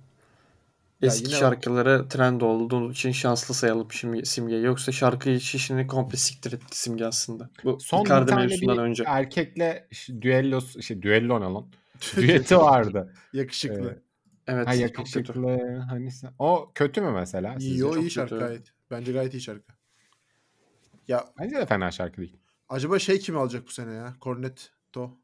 Eski yine- şarkılara trend olduğu için şanslı sayalım şimdi Simge. Yoksa şarkı işini komple siktir etti Simge aslında. Bu Son bir Icardi tane mevzusundan bir önce. erkekle ş- düellos, şey düello ne lan? Düeti vardı. Yakışıklı. Evet. Evet. ha çok kötü. yakışıklı. Hani sen- o kötü mü mesela? sizce? Yo çok iyi şarkı kötü. gayet. Bence gayet iyi şarkı. Ya Bence de fena şarkı değil. acaba şey kim alacak bu sene ya? Cornetto.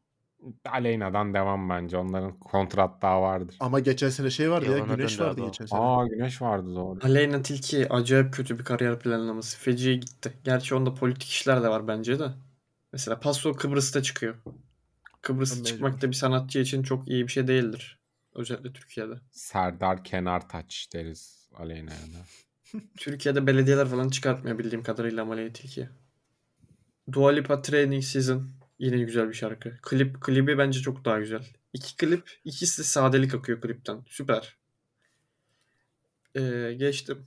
Aleyna'dan devam bence. Onların kontrat daha vardır. Ama geçen sene şey vardı ya, Yalana Güneş döndü vardı abi o. geçen sene. Aa Güneş vardı doğru. Aleyna Tilki acayip kötü bir kariyer planlaması. Feci'ye gitti. Gerçi onda politik işler de var bence de. Mesela Paso Kıbrıs'ta çıkıyor. Kıbrıs'ta Mecbur. çıkmak da bir sanatçı için çok iyi bir şey değildir. Özellikle Türkiye'de. Serdar Kenartaç deriz Aleyna'ya da. Türkiye'de belediyeler falan çıkartmıyor bildiğim kadarıyla Malaya Tilki'ye. Dua Lipa Training Season yine güzel bir şarkı. Klip klibi bence çok daha güzel. İki klip, ikisi de sadelik akıyor klipten. Süper. Ee, geçtim.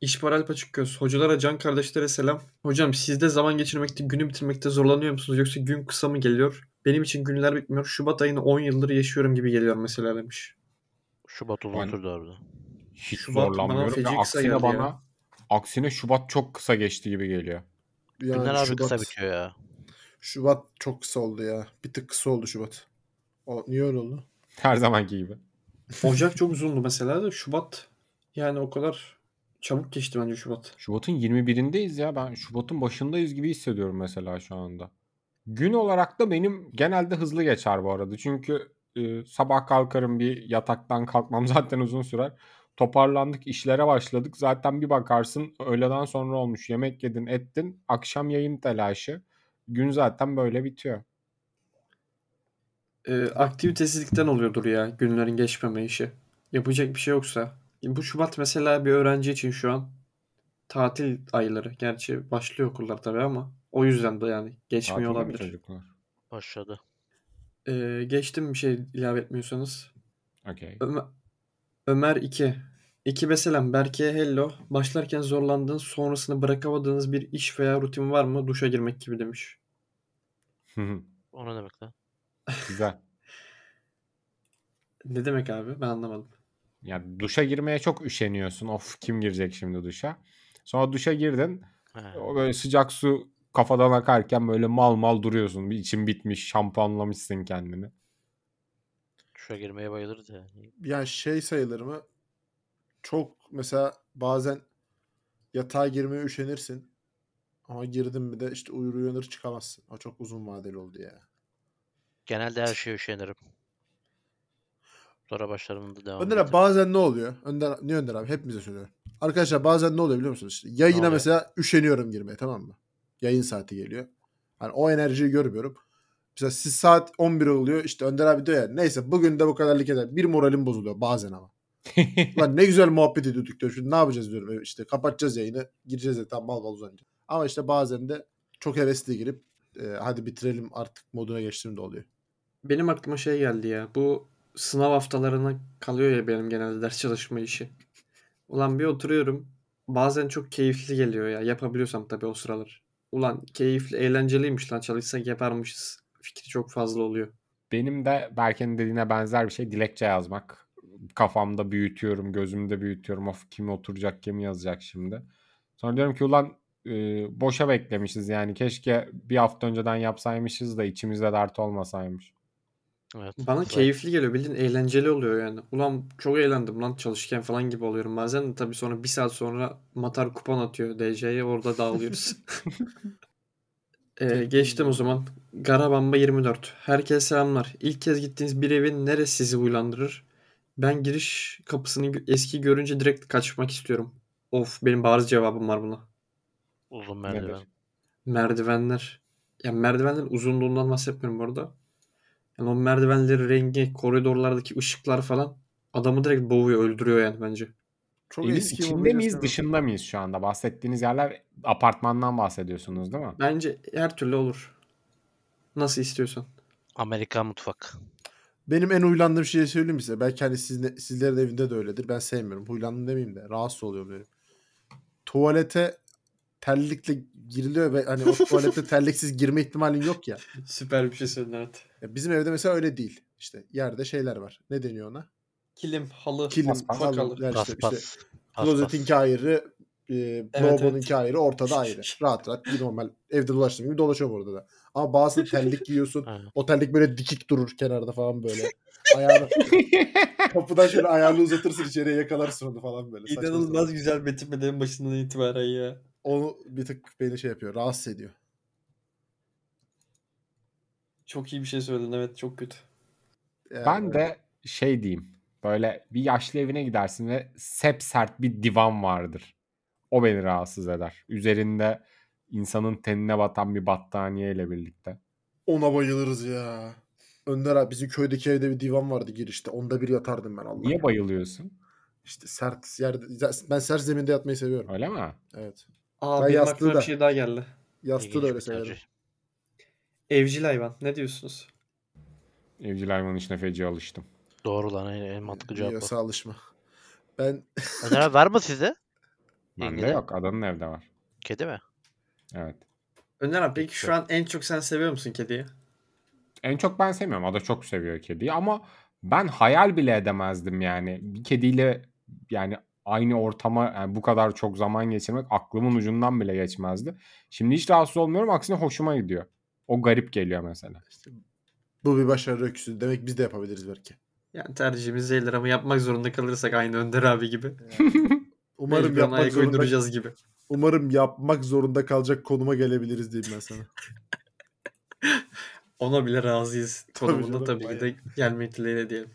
İşparalp Açıkgöz. Hocalara, can kardeşlere selam. Hocam sizde zaman geçirmekte, günü bitirmekte zorlanıyor musunuz? Yoksa gün kısa mı geliyor? Benim için günler bitmiyor. Şubat ayını 10 yıldır yaşıyorum gibi geliyor mesela demiş. Şubat uzun Yani- sürdü orada. Hiç Şubat bana zorlanmıyorum. feci ve kısa aksine geldi bana ya. aksine Şubat çok kısa geçti gibi geliyor. Yani Günler abi Şubat, kısa bitiyor ya. Şubat çok kısa oldu ya. Bir tık kısa oldu Şubat. O, niye öyle oldu? Her zamanki gibi. Ocak çok uzundu mesela da Şubat yani o kadar çabuk geçti bence Şubat. Şubat'ın 21'indeyiz ya. Ben Şubat'ın başındayız gibi hissediyorum mesela şu anda. Gün olarak da benim genelde hızlı geçer bu arada. Çünkü e, sabah kalkarım bir yataktan kalkmam zaten uzun sürer. Toparlandık, işlere başladık. Zaten bir bakarsın öğleden sonra olmuş. Yemek yedin, ettin. Akşam yayın telaşı. Gün zaten böyle bitiyor. Ee, aktivitesizlikten oluyordur ya günlerin geçmeme işi. Yapacak bir şey yoksa. Bu Şubat mesela bir öğrenci için şu an tatil ayları. Gerçi başlıyor okullar tabii ama o yüzden de yani geçmiyor Tatilde mi olabilir. Çocuklar. Başladı. Ee, geçtim bir şey ilave etmiyorsanız. Okey. Ömer, Ömer 2. Ekibe selam. Berke'ye hello. Başlarken zorlandığınız sonrasını bırakamadığınız bir iş veya rutin var mı? Duşa girmek gibi demiş. O ne demek lan? Güzel. Ne demek abi? Ben anlamadım. Ya duşa girmeye çok üşeniyorsun. Of kim girecek şimdi duşa? Sonra duşa girdin. He. O böyle sıcak su kafadan akarken böyle mal mal duruyorsun. Bir için bitmiş, şampuanlamışsın kendini. Şuraya girmeye bayılırız ya. Yani şey sayılır mı? Çok mesela bazen yatağa girmeye üşenirsin. Ama girdin mi de işte uyur uyanır çıkamazsın. O çok uzun vadeli oldu ya. Genelde her şeye üşenirim. Sonra başlarım da devam Önder ederim. abi bazen ne oluyor? Önder, niye Önder abi? Hepimize söylüyorum. Arkadaşlar bazen ne oluyor biliyor musunuz? İşte yayına oluyor? mesela üşeniyorum girmeye tamam mı? Yayın saati geliyor. Hani o enerjiyi görmüyorum. Mesela siz saat 11 oluyor. işte Önder abi diyor ya neyse bugün de bu kadarlık eder. Bir moralim bozuluyor bazen ama. Lan ne güzel muhabbet ediyorduk diyor. Şimdi ne yapacağız diyorum. E İşte kapatacağız yayını. Gireceğiz de tam bal bal uzanacağız. Ama işte bazen de çok hevesli girip e, hadi bitirelim artık moduna geçtiğim de oluyor. Benim aklıma şey geldi ya. Bu sınav haftalarına kalıyor ya benim genelde ders çalışma işi. Ulan bir oturuyorum. Bazen çok keyifli geliyor ya. Yapabiliyorsam tabii o sıralar. Ulan keyifli, eğlenceliymiş lan. Çalışsak yaparmışız. Fikri çok fazla oluyor. Benim de Berke'nin dediğine benzer bir şey dilekçe yazmak. Kafamda büyütüyorum, gözümde büyütüyorum. Of kim oturacak, kim yazacak şimdi. Sonra diyorum ki ulan e, boşa beklemişiz yani. Keşke bir hafta önceden yapsaymışız da içimizde dert olmasaymış. Evet. Bana Zayıf. keyifli geliyor. Bildiğin eğlenceli oluyor yani. Ulan çok eğlendim lan çalışırken falan gibi oluyorum. Bazen de tabii sonra bir saat sonra Matar kupon atıyor DC'ye. Orada dağılıyoruz. Ee, geçtim o zaman. Garabamba 24. Herkese selamlar. İlk kez gittiğiniz bir evin neresi sizi uylandırır? Ben giriş kapısını gö- eski görünce direkt kaçmak istiyorum. Of benim bariz cevabım var buna. Uzun Nedir? merdiven. Merdivenler. Ya merdivenlerin uzunluğundan bahsetmiyorum bu arada. Yani o merdivenlerin rengi, koridorlardaki ışıklar falan adamı direkt boğuyor, öldürüyor yani bence. Çok Evin eski içinde mobilya miyiz, sevmem. dışında mıyız şu anda? Bahsettiğiniz yerler apartmandan bahsediyorsunuz değil mi? Bence her türlü olur. Nasıl istiyorsan. Amerikan mutfak. Benim en huylandığım şeyi söyleyeyim mi size. Belki hani sizle, sizlerin evinde de öyledir. Ben sevmiyorum. Huylandım demeyeyim de. Rahatsız oluyorum derim. Tuvalete terlikle giriliyor ve hani o tuvalete terliksiz girme ihtimalin yok ya. Süper bir şey söyledin evet. ya. Bizim evde mesela öyle değil. İşte yerde şeyler var. Ne deniyor ona? Kilim, halı, Kilim, Paspas. halı, yani Pas işte, pas. işte Pas, klozetinki ayrı, e, lavabonunki ayrı, ortada ayrı. Rahat rahat bir normal evde dolaştığım gibi dolaşıyorum orada da. Ama bazı terlik giyiyorsun. Aynen. o terlik böyle dikik durur kenarda falan böyle. Ayağını kapıdan şöyle ayağını uzatırsın içeriye yakalarsın onu falan böyle. Saçma sapan. İnanılmaz güzel betimlemelerin başından itibaren ya. Onu bir tık beni şey yapıyor. Rahatsız ediyor. Çok iyi bir şey söyledin evet çok kötü. Yani Ben de şey diyeyim. Böyle bir yaşlı evine gidersin ve sep sert bir divan vardır. O beni rahatsız eder. Üzerinde insanın tenine batan bir battaniye ile birlikte. Ona bayılırız ya. Önder abi bizim köydeki evde bir divan vardı girişte. Onda bir yatardım ben Allah. Niye bayılıyorsun? İşte sert yerde. Ben sert zeminde yatmayı seviyorum. Öyle mi? Evet. Aa Ben benim yastığı aklıma da- bir şey daha geldi. Yastığı da İlginç öyle bir severim. tercih. Evcil hayvan ne diyorsunuz? Evcil hayvanın içine feci alıştım. Doğru lan en en mantıklı cevap Yasa alışma. Ben o. Öner abi var mı sizde? Bende İlgili. yok. Adanın evde var. Kedi mi? Evet. Önder abi peki şu an en çok sen seviyor musun kediyi? En çok ben sevmiyorum. Ada çok seviyor kediyi ama ben hayal bile edemezdim yani. Bir kediyle yani aynı ortama yani bu kadar çok zaman geçirmek aklımın ucundan bile geçmezdi. Şimdi hiç rahatsız olmuyorum. Aksine hoşuma gidiyor. O garip geliyor mesela. bu bir başarı öyküsü. Demek biz de yapabiliriz belki. Yani tercihimiz değildir ama yapmak zorunda kalırsak aynı Önder abi gibi. Umarım Mecburen yapmak ayak zorunda, uyduracağız gibi. umarım yapmak zorunda kalacak konuma gelebiliriz diyeyim ben sana. Ona bile razıyız Tabii konumunda canım, tabii, ki de gelmek dileğiyle diyelim.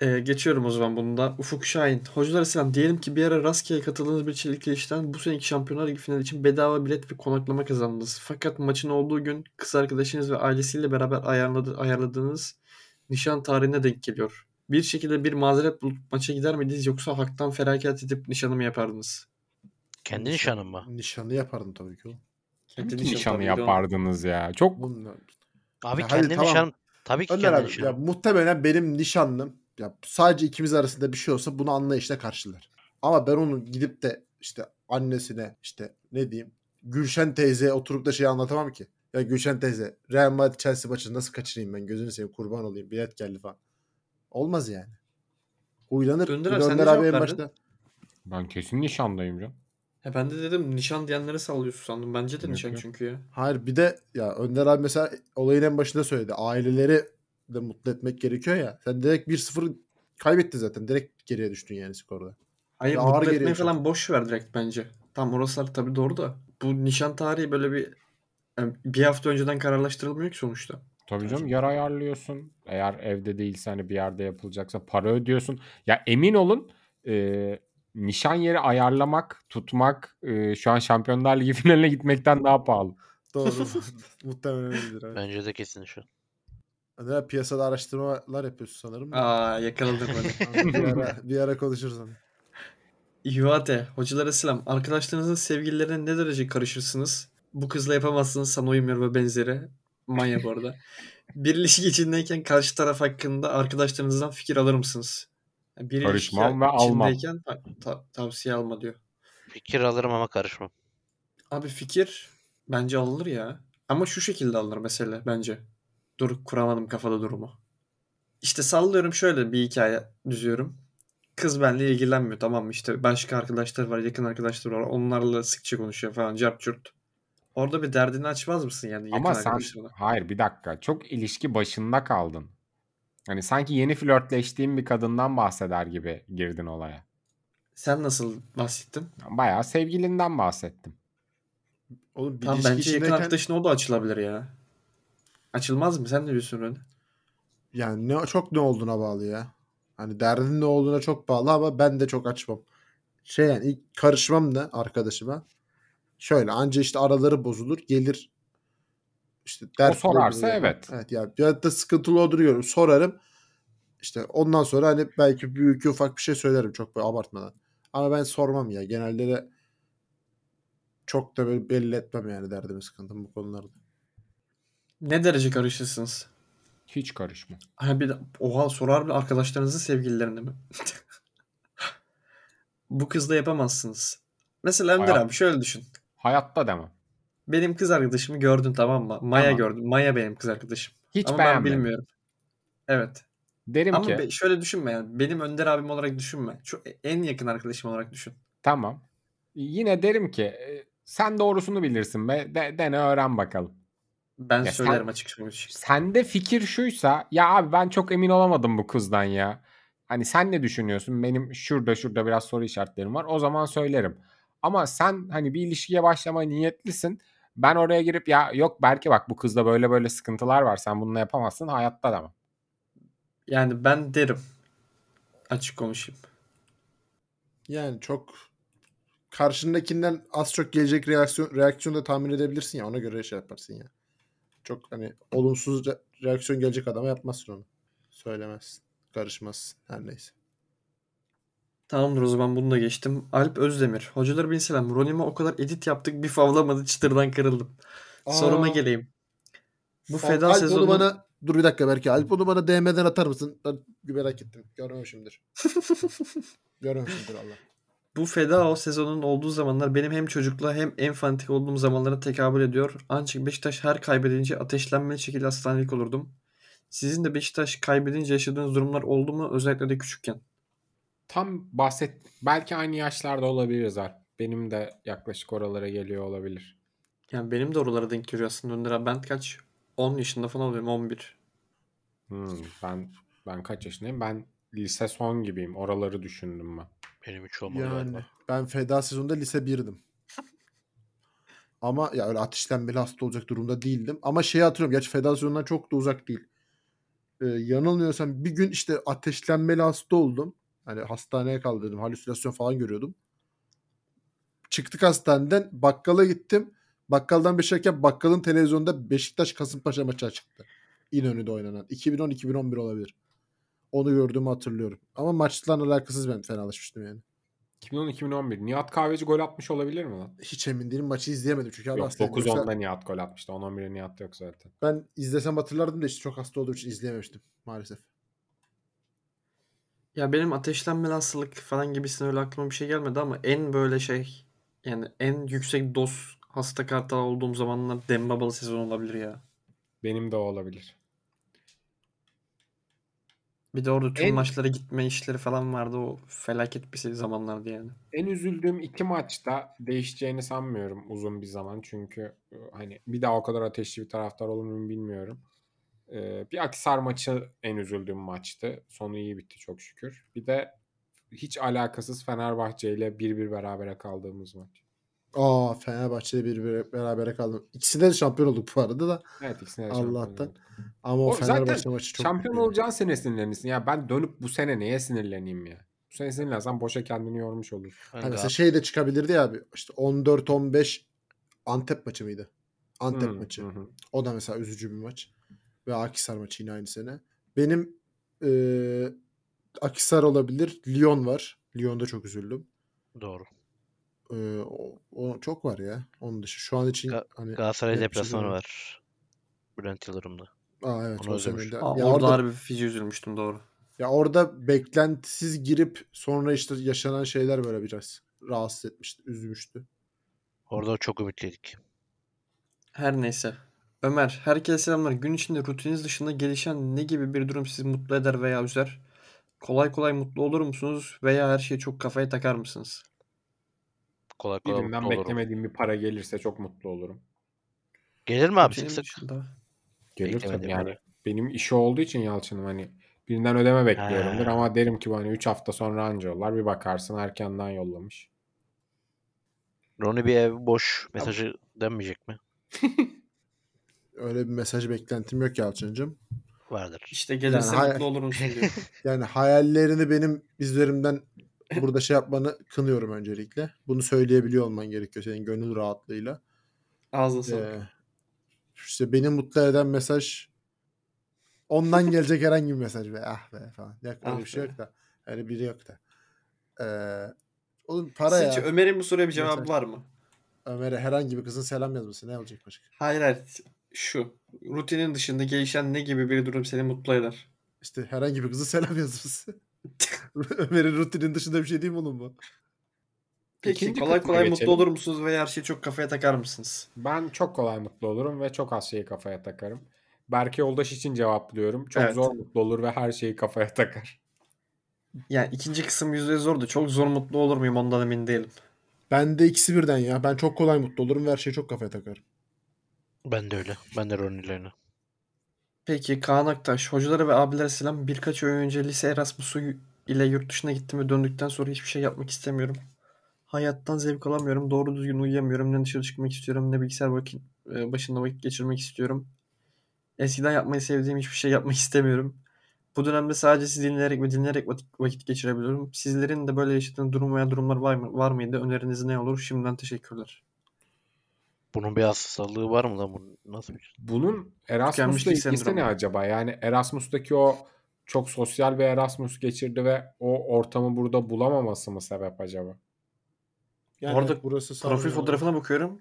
Ee, geçiyorum o zaman bunu da. Ufuk Şahin. Hocalar selam. Diyelim ki bir ara rastgele katıldığınız bir çelikli işten bu seneki şampiyonlar ligi finali için bedava bilet ve konaklama kazandınız. Fakat maçın olduğu gün kız arkadaşınız ve ailesiyle beraber ayarladı, ayarladığınız nişan tarihine denk geliyor. Bir şekilde bir mazeret bulup maça gider miydiniz yoksa haktan feragat edip nişanı mı yapardınız? Kendi nişanın mı? Nişanı yapardım tabii ki. oğlum. Kendi nişan nişanı E, tabii de onu- yapardınız ya. Çok Bunlar- Abi Ya hadi kendi tamam. nişanım. Tabii ki Önder kendi abi ya nişanım. muhtemelen benim nişanlım ya sadece ikimiz arasında bir şey olsa bunu anlayışla karşılar. Ama ben onu gidip de işte annesine işte ne diyeyim Gülşen teyzeye oturup da şey anlatamam ki. Ya Gülşen teyze Real Madrid Chelsea maçını nasıl kaçırayım ben gözünü seveyim kurban olayım bilet geldi falan. Olmaz yani. Huylanır. Önder Önder, abi, abi, sen ne cevap en verdin? başta. ben kesin nişandayım canım. He E ben de dedim nişan diyenlere sallıyorsun sandım. Bence de Yok, nişan yok. çünkü ya. Hayır bir de ya Önder abi mesela olayın en başında söyledi. Aileleri de mutlu etmek gerekiyor ya. Sen direkt 1-0 kaybettin zaten. Direkt geriye düştün yani skorda. Hayır Ya ağır mutlu geliyor etmeyi çok. falan boş ver direkt bence. Tam orası tabii doğru da. Bu nişan tarihi böyle bir yani bir hafta önceden kararlaştırılmıyor ki sonuçta. Tabii Gerçekten. canım yer ayarlıyorsun. Eğer evde değilse hani bir yerde yapılacaksa para ödüyorsun. Ya emin olun e, nişan yeri ayarlamak, tutmak e, şu an Şampiyonlar Ligi finaline gitmekten daha pahalı. Doğru. Muhtemelen öyledir. Evet. Bence de kesin nişan. Önder abi piyasada araştırmalar yapıyorsun sanırım. Aa yakaladım hadi. bir, ara, bir ara konuşuruz onu. İhvate, hocalara selam. Arkadaşlarınızın sevgililerine ne derece karışırsınız? Bu kızla yapamazsınız sana uymuyor ve benzeri. Manya bu arada. bir ilişki içindeyken karşı taraf hakkında arkadaşlarınızdan fikir alır mısınız? Yani bir ilişki Karışmam ve almam. içindeyken ta- ta- tavsiye alma diyor. Fikir alırım ama karışmam. Abi fikir bence alınır ya. Ama şu şekilde alınır mesela bence. Dur kuramadım kafada durumu. İşte sallıyorum şöyle bir hikaye düzüyorum. Kız benimle ilgilenmiyor tamam mı? işte başka arkadaşlar var yakın arkadaşlar var onlarla sıkça konuşuyor falan cart curt. Orada bir derdini açmaz mısın yani yakın Ama sen arkadaşlarına? hayır bir dakika çok ilişki başında kaldın. Hani sanki yeni flörtleştiğin bir kadından bahseder gibi girdin olaya. Sen nasıl bahsettin? Bayağı sevgilinden bahsettim. Oğlum bir Tam ilişki bence şey, yakın içindeyken arkadaşına o da açılabilir ya. Açılmaz mı? Sen ne diyorsun Röne? yani ne, çok ne olduğuna bağlı ya. Hani derdin ne olduğuna çok bağlı ama ben de çok açmam. Şey yani ilk karışmam da arkadaşıma. Şöyle anca işte araları bozulur gelir işte dert sorarsa bulur. evet. Evet ya ya da sıkıntılı olduğunu görüyorum sorarım. İşte ondan sonra hani belki büyük ufak bir şey söylerim çok böyle abartmadan. Ama ben sormam ya genelde de çok da böyle belli etmem yani derdimi sıkıntımı bu konularda. Ne derece karışırsınız? Hiç karışma. Ha bir de- oha sorar mı arkadaşlarınızın sevgililerini mi? Bu kızla yapamazsınız. Mesela Önder Hayat- abi şöyle düşün. Hayatta demem. Benim kız arkadaşımı gördün tamam mı? Maya Tamam. gördüm. Maya benim kız arkadaşım. Hiç Ama ben beğenmedim. bilmiyorum. Evet. Derim Ama ki be- şöyle düşünme yani. Benim Önder abim olarak düşünme. Şu e, en yakın arkadaşım olarak düşün. tamam. Yine derim ki e, sen doğrusunu bilirsin be. De- dene öğren bakalım. Ben Ya sen- söylerim açık söyleyeyim. Sende fikir şuysa ya abi ben çok emin olamadım bu kızdan ya. Hani sen ne düşünüyorsun? Benim şurada şurada biraz soru işaretlerim var. O zaman söylerim. Ama sen hani bir ilişkiye başlama niyetlisin. Ben oraya girip ya yok belki bak bu kızda böyle böyle sıkıntılar var. Sen bununla yapamazsın. Hayatta da mı? Yani ben derim. Açık konuşayım. Yani çok karşındakinden az çok gelecek reaksiyon reaksiyonu da tahmin edebilirsin ya ona göre şey yaparsın ya. Çok hani olumsuz re- reaksiyon gelecek adama yapmazsın onu. Söylemezsin. Karışmazsın. Her neyse. Tamamdır o zaman bunu da geçtim. Alp Özdemir. Hocalar bin selam. Ronim'e o kadar edit yaptık bir favlamadı çıtırdan kırıldım. Soruma Aa. geleyim. Bu Al- feda Alp onu sezonu... bana dur bir dakika belki Alp onu bana DM'den atar mısın? Ben merak ettim. Görmemişimdir. Görmemişimdir Allah. Bu feda o sezonun olduğu zamanlar benim hem çocukla hem enfantik olduğum zamanlara tekabül ediyor. Ancak Beşiktaş her kaybedince ateşlenmeli şekilde hastanelik olurdum. Sizin de Beşiktaş kaybedince yaşadığınız durumlar oldu mu? Özellikle de küçükken. Tam bahset. Belki aynı yaşlarda olabiliriz Alp. Benim de yaklaşık oralara geliyor olabilir. Yani benim de oralara denk geliyor aslında. Önder abi ben kaç? 10 yaşında falan oluyorum 11. Hmm, ben ben kaç yaşındayım? Ben lise son gibiyim. Oraları düşündüm ben. Benim hiç olmadı Yani galiba. ben feda sezonunda lise 1'dim. Ama ya öyle ateşlenmeli hasta olacak durumda değildim. Ama şeyi hatırlıyorum. Gerçi feda sezonundan çok da uzak değil. Ee, yanılmıyorsam bir gün işte ateşlenmeli hasta oldum. Hani hastaneye kaldırdım. Halüsinasyon falan görüyordum. Çıktık hastaneden bakkala gittim. Bakkaldan bir şirket bakkalın televizyonda Beşiktaş Kasımpaşa maçı çıktı. İnönü'de oynanan. 2010-2011 olabilir. Onu gördüğümü hatırlıyorum. Ama maçlarla alakasız ben fenalaşmıştım yani. 2010-2011. Nihat Kahveci gol atmış olabilir mi lan? Hiç emin değilim. Maçı izleyemedim çünkü abi Yok hastaydım. Yoksa 9-10'da Nihat gol atmıştı. 10-11'e Nihat yok zaten. Ben izlesem hatırlardım da işte çok hasta olduğum için izleyememiştim maalesef. Ya benim ateşlenmeli hastalık falan gibisinden öyle aklıma bir şey gelmedi ama en böyle şey yani en yüksek doz hasta kartal olduğum zamanlar Dembaba'lı sezon olabilir ya. Benim de o olabilir. Bir de orada tüm En- maçlara gitme işleri falan vardı o felaket bir se- zamanlardı yani. En üzüldüğüm iki maçta değişeceğini sanmıyorum uzun bir zaman. Çünkü e, hani bir daha o kadar ateşli bir taraftar olur muyum bilmiyorum. Ee, bir Akisar maçı en üzüldüğüm maçtı. Sonu iyi bitti çok şükür. Bir de hiç alakasız Fenerbahçe ile 1-1 berabere kaldığımız maç. Aa Fenerbahçe'de bir, bir berabere kaldım. İkisinde de şampiyon olduk bu arada da. Evet ikisine de şampiyon Allah'tan. olduk. Ama o, O zaten Fenerbahçe maçı çok Şampiyon kötüydü. olacağın sene sinirlenirsin. Ya ben dönüp bu sene neye sinirleneyim ya? Bu sene sinirlensen boşa kendini yormuş olur. Ben Hani de mesela şey de çıkabilirdi ya abi. İşte 14-15 Antep maçı mıydı? Antep Hı, maçı. Hmm, hı hı. O da mesela üzücü bir maç. Ve Akisar maçı yine aynı sene. Benim e, Akisar olabilir. Lyon var. Lyon'da çok üzüldüm. Doğru. E, o, o çok var ya. Onun dışı şu an için Ga- hani Galatasaray net bir şey deplasmanı diyemem. var. Bülent Yıldırım'da. Aa evet Onu o sene özlemiştim. de- Aa, ya orada orada, harbi feci üzülmüştüm doğru. ya orada beklentisiz girip sonra işte yaşanan şeyler böyle biraz rahatsız etmişti, üzmüştü. Orada çok ümitliydik. Her neyse. Ömer, herkese selamlar. Gün içinde rutininiz dışında gelişen ne gibi bir durum sizi mutlu eder veya üzer? Kolay kolay mutlu olur musunuz veya her şeyi çok kafaya takar mısınız? Kolay kolay mutlu Birinden olurum. beklemediğim bir para gelirse çok mutlu olurum. Gelir mi abi sık Rutinin sık? dışında. Gelir şey tabii Beklemediğim yani. para. Benim işi olduğu için Yalçın'ım hani birinden ödeme bekliyorumdur Ha. ama derim ki bu hani 3 hafta sonra anca yollar. Bir bakarsın erkenden yollamış. Ronnie bir ev boş mesajı denmeyecek mi? Öyle bir mesaj beklentim yok Yalçıncığım. Vardır. İşte gelirse Yani hay- mutlu olur musun diyor. Yani hayallerini benim bizlerimden burada şey yapmanı kınıyorum öncelikle. Bunu söyleyebiliyor olman gerekiyor senin gönül rahatlığıyla. Ağzına sağlık. Ee, işte beni mutlu eden mesaj ondan gelecek herhangi bir mesaj be ah be falan. Yok, öyle Ah bir şey be. yok da. Öyle biri yok da. Ee, oğlum para Sizce ya. Ömer'in bu soruya bir cevabı Mesaj. var mı? Ömer'e herhangi bir kızın selam yazması ne olacak başka? Hayır hayır. Şu. Rutinin dışında gelişen ne gibi bir durum seni mutlu eder? İşte herhangi bir kızın selam yazması. Ömer'in rutinin dışında bir şey değil mi oğlum bu? Peki İkinci kolay kısma kolay geçelim. mutlu olur musunuz veya her şeyi çok kafaya takar mısınız? Ben çok kolay mutlu olurum ve çok az şeyi kafaya takarım. Berke Yoldaş için cevaplıyorum. Çok Evet. zor mutlu olur ve her şeyi kafaya takar. Yani ikinci kısım yüzde zordu. Çok zor mutlu olur muyum ondan emin değilim. Ben de ikisi birden ya. Ben çok kolay mutlu olurum ve her şeyi çok kafaya takarım. Ben de öyle. Ben de Ronnie'lerini. Peki Kaan Aktaş, hocalara ve abilere selam. Birkaç ay önce lise Erasmus'u ile yurt dışına gittim ve döndükten sonra hiçbir şey yapmak istemiyorum. Hayattan zevk alamıyorum, doğru düzgün uyuyamıyorum, ne dışarı çıkmak istiyorum, ne bilgisayar vakit, e, başında vakit geçirmek istiyorum. Eskiden yapmayı sevdiğim hiçbir şey yapmak istemiyorum. Bu dönemde sadece sizi dinleyerek ve dinleyerek vakit, vakit geçirebiliyorum. Sizlerin de böyle yaşadığı durum veya durumlar var, mı, var mıydı? Öneriniz ne olur? Şimdiden teşekkürler. Bunun bir hastalığı var mı lan bunun? Nasıl bir şey? Bunun Erasmus'la Tükenmişlik ilgisi ne sendromu. acaba? Yani Erasmus'taki o çok sosyal bir Erasmus geçirdi ve o ortamı burada bulamaması mı sebep acaba? Yani Bu arada evet, burası sağ Profil olun. fotoğrafına bakıyorum.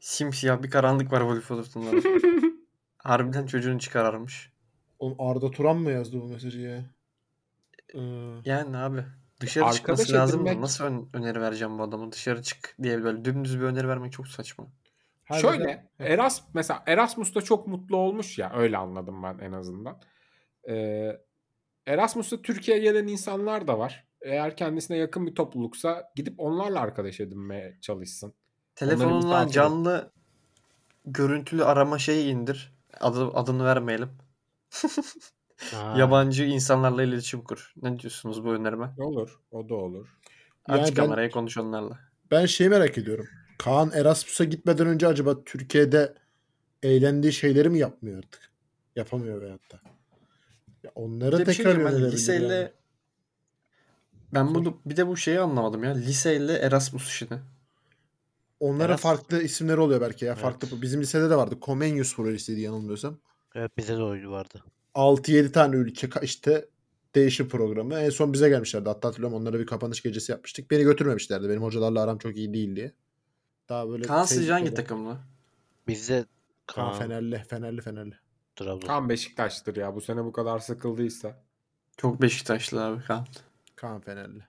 Simsiyah bir karanlık var profil fotoğrafında. Harbiden çocuğunu çıkararmış. Oğlum Arda Turan mı yazdı bu mesajı ya? Ee, Yani abi dışarı Arkadaş çıkması lazım edinmek- da nasıl ön- öneri vereceğim bu adama? Dışarı çık diye böyle dümdüz bir öneri vermek çok saçma. harbiden- Şöyle Eras mesela Erasmus'ta çok mutlu olmuş ya öyle anladım ben en azından. Ee, Erasmus'ta Türkiye'ye gelen insanlar da var. Eğer kendisine yakın bir topluluksa gidip onlarla arkadaş edinmeye çalışsın. Telefonunla misafiri. canlı görüntülü arama şeyi indir. Adı, adını vermeyelim. Ha, Yabancı insanlarla iletişim kur. Ne diyorsunuz bu önerime? Olur, o da olur. Yani Aç ben- kamerayı konuş onlarla. Ben şeyi merak ediyorum. Kaan Erasmus'a gitmeden önce acaba Türkiye'de eğlendiği şeyleri mi yapmıyor artık? Yapamıyor veyahut da. Ya onlara Bir de bir şey tekrar diyeceğim, ben yönelebilir liseyle yani. ben bunu bir de bu şeyi anlamadım ya. Liseyle Erasmus işini. Onlara Erasmus- farklı isimleri oluyor belki ya. Evet. Farklı bizim lisede de vardı. Comenius projesiydi yanılmıyorsam. evet bize de oydu vardı. 6-7 tane ülke ka- işte değişim programı. En son bize gelmişlerdi. Hatta hatırlıyorum onlara bir kapanış gecesi yapmıştık. Beni götürmemişlerdi. Benim hocalarla aram çok iyi değil diye. Daha böyle Kaan sizce sevdikleri- hangi takımlı? Bizde Kaan Kaan, Fenerli, Fenerli, Fenerli. Trabzon. Tam Beşiktaş'tır ya bu sene bu kadar sıkıldıysa. Çok Beşiktaşlı abi Kaan. Kaan Fenerli.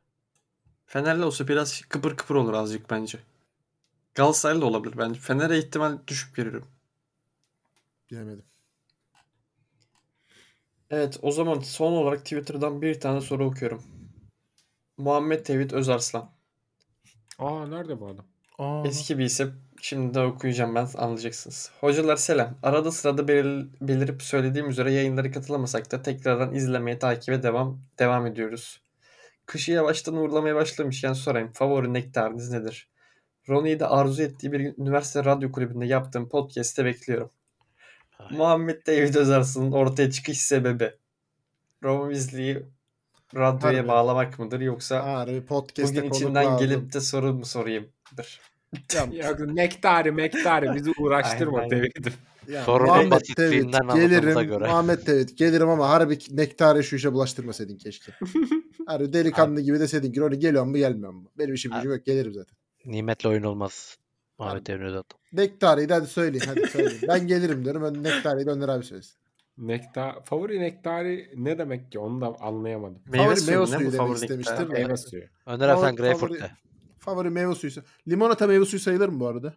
Fener'le olsa biraz kıpır kıpır olur azıcık bence. Galatasaraylı da olabilir bence. Fener'e ihtimal düşük veririm. Bilemedim. Evet o zaman son olarak Twitter'dan bir tane soru okuyorum. Muhammed Tevhid Özarslan. Aa nerede bu adam? Aa. Eski bir isim. Şimdi de okuyacağım ben anlayacaksınız. Hocalar selam. Arada sırada belir- belirip söylediğim üzere yayınlara katılamasak da tekrardan izlemeye takibe devam devam ediyoruz. Kışı yavaştan uğurlamaya başlamışken sorayım. Favori nektarınız nedir? Ronnie'yi de arzu ettiği bir üniversite radyo kulübünde yaptığım podcast'te bekliyorum. Ay. Muhammed David Özarslan'ın ortaya çıkış sebebi. Ron Weasley'i radyoya Harbi. bağlamak mıdır yoksa Harbi podcast'te bugün konuk içinden lazım. gelip de soru mu sorayımdır? Ya Nektari Mektari bizi uğraştırma Aynen, aynen. Tevhid'im. Ya, Sorun Muhammed basitliğinden Tevhid anladığımıza gelirim. göre. Muhammed Tevhid gelirim ama harbi nektarı şu işe bulaştırmasaydın keşke. harbi delikanlı gibi deseydin ki Roni geliyor mu gelmiyor mu? Benim işim gücüm yok gelirim zaten. Nimetle oyun olmaz. Muhammed Emre Özat. Nektarıyı da hadi söyleyin hadi söyleyin. ben gelirim diyorum. Ben nektarıyı da Önder abi söylesin. Nektar, favori Nektari ne demek ki onu da anlayamadım. Favori meyve ne bu suyu demek favori istemiştim. nektar? Evet. Meyve suyu. Önder abi Favori- sen Greyfurt'te. Favori meyve suyu. Limonata meyve suyu sayılır mı bu arada?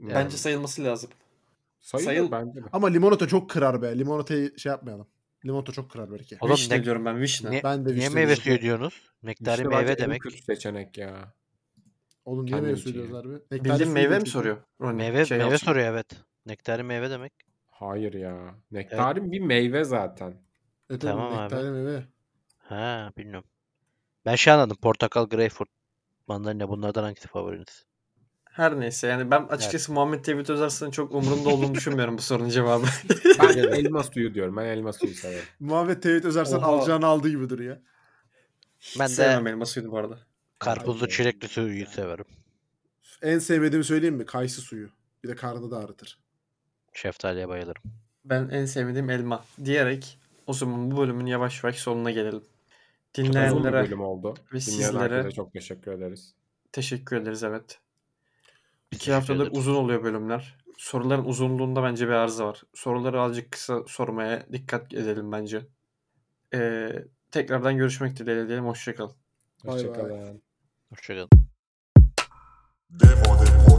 Yani Bence sayılması lazım. sayılır sayıl- bence de. Ama limonata çok kırar be. Limonatayı şey yapmayalım. Limonata çok kırar belki. Oğlum Vişne ne- diyorum ben vişne. Ne- Ben de Niye vişne meyve şey diyeceğim. suyu diyorsunuz? Nektari İşte bence meyve en demek. kötü seçenek ya. Oğlum niye Kendim meyve için suyu diyoruz harbi? Nektarlı Bildiğin suyu meyve mi diyoruz. soruyor? Ronnie? Meyve Şey meyve yapsın. soruyor evet. Nektari meyve demek. Hayır ya. Nektarin bir meyve zaten. E, tabii, Tamam abi. nektarlı meyve. Ha bilmiyorum. Ben şey anladım. Portakal, Greyfurt, mandalina bunlardan hangisi favoriniz? Her neyse yani ben açıkçası Muhammed Tevhid Özarslan'ın çok umurumda olduğunu düşünmüyorum bu sorunun cevabı. Ben elma suyu diyorum. Ben elma suyu severim. Muhammed Tevhid Özersen Oha. alacağını aldığı gibi duruyor. Ben de- Sevmem elma suyunu bu arada. Karpuzlu Aynen. çilekli suyu severim. En sevmediğimi söyleyeyim mi? Kayısı suyu. Bir de karnı da ağrıtır. Şeftaliye bayılırım. Ben en sevmediğim elma diyerek o zaman bu bölümün yavaş yavaş sonuna gelelim. Uzun bir Dinleyenlere bölüm oldu. Dinleyen sizlere- herkese çok teşekkür ederiz. teşekkür ederiz evet. Biz İki teşekkür haftadır ederiz. uzun oluyor bölümler. Soruların uzunluğunda bence bir arıza var. Soruları azıcık kısa sormaya dikkat edelim bence. Ee, tekrardan görüşmek dileğiyle diyelim. Hoşçakalın. Bay bay. Hoşçakalın. Hoşçakalın. Devo Devo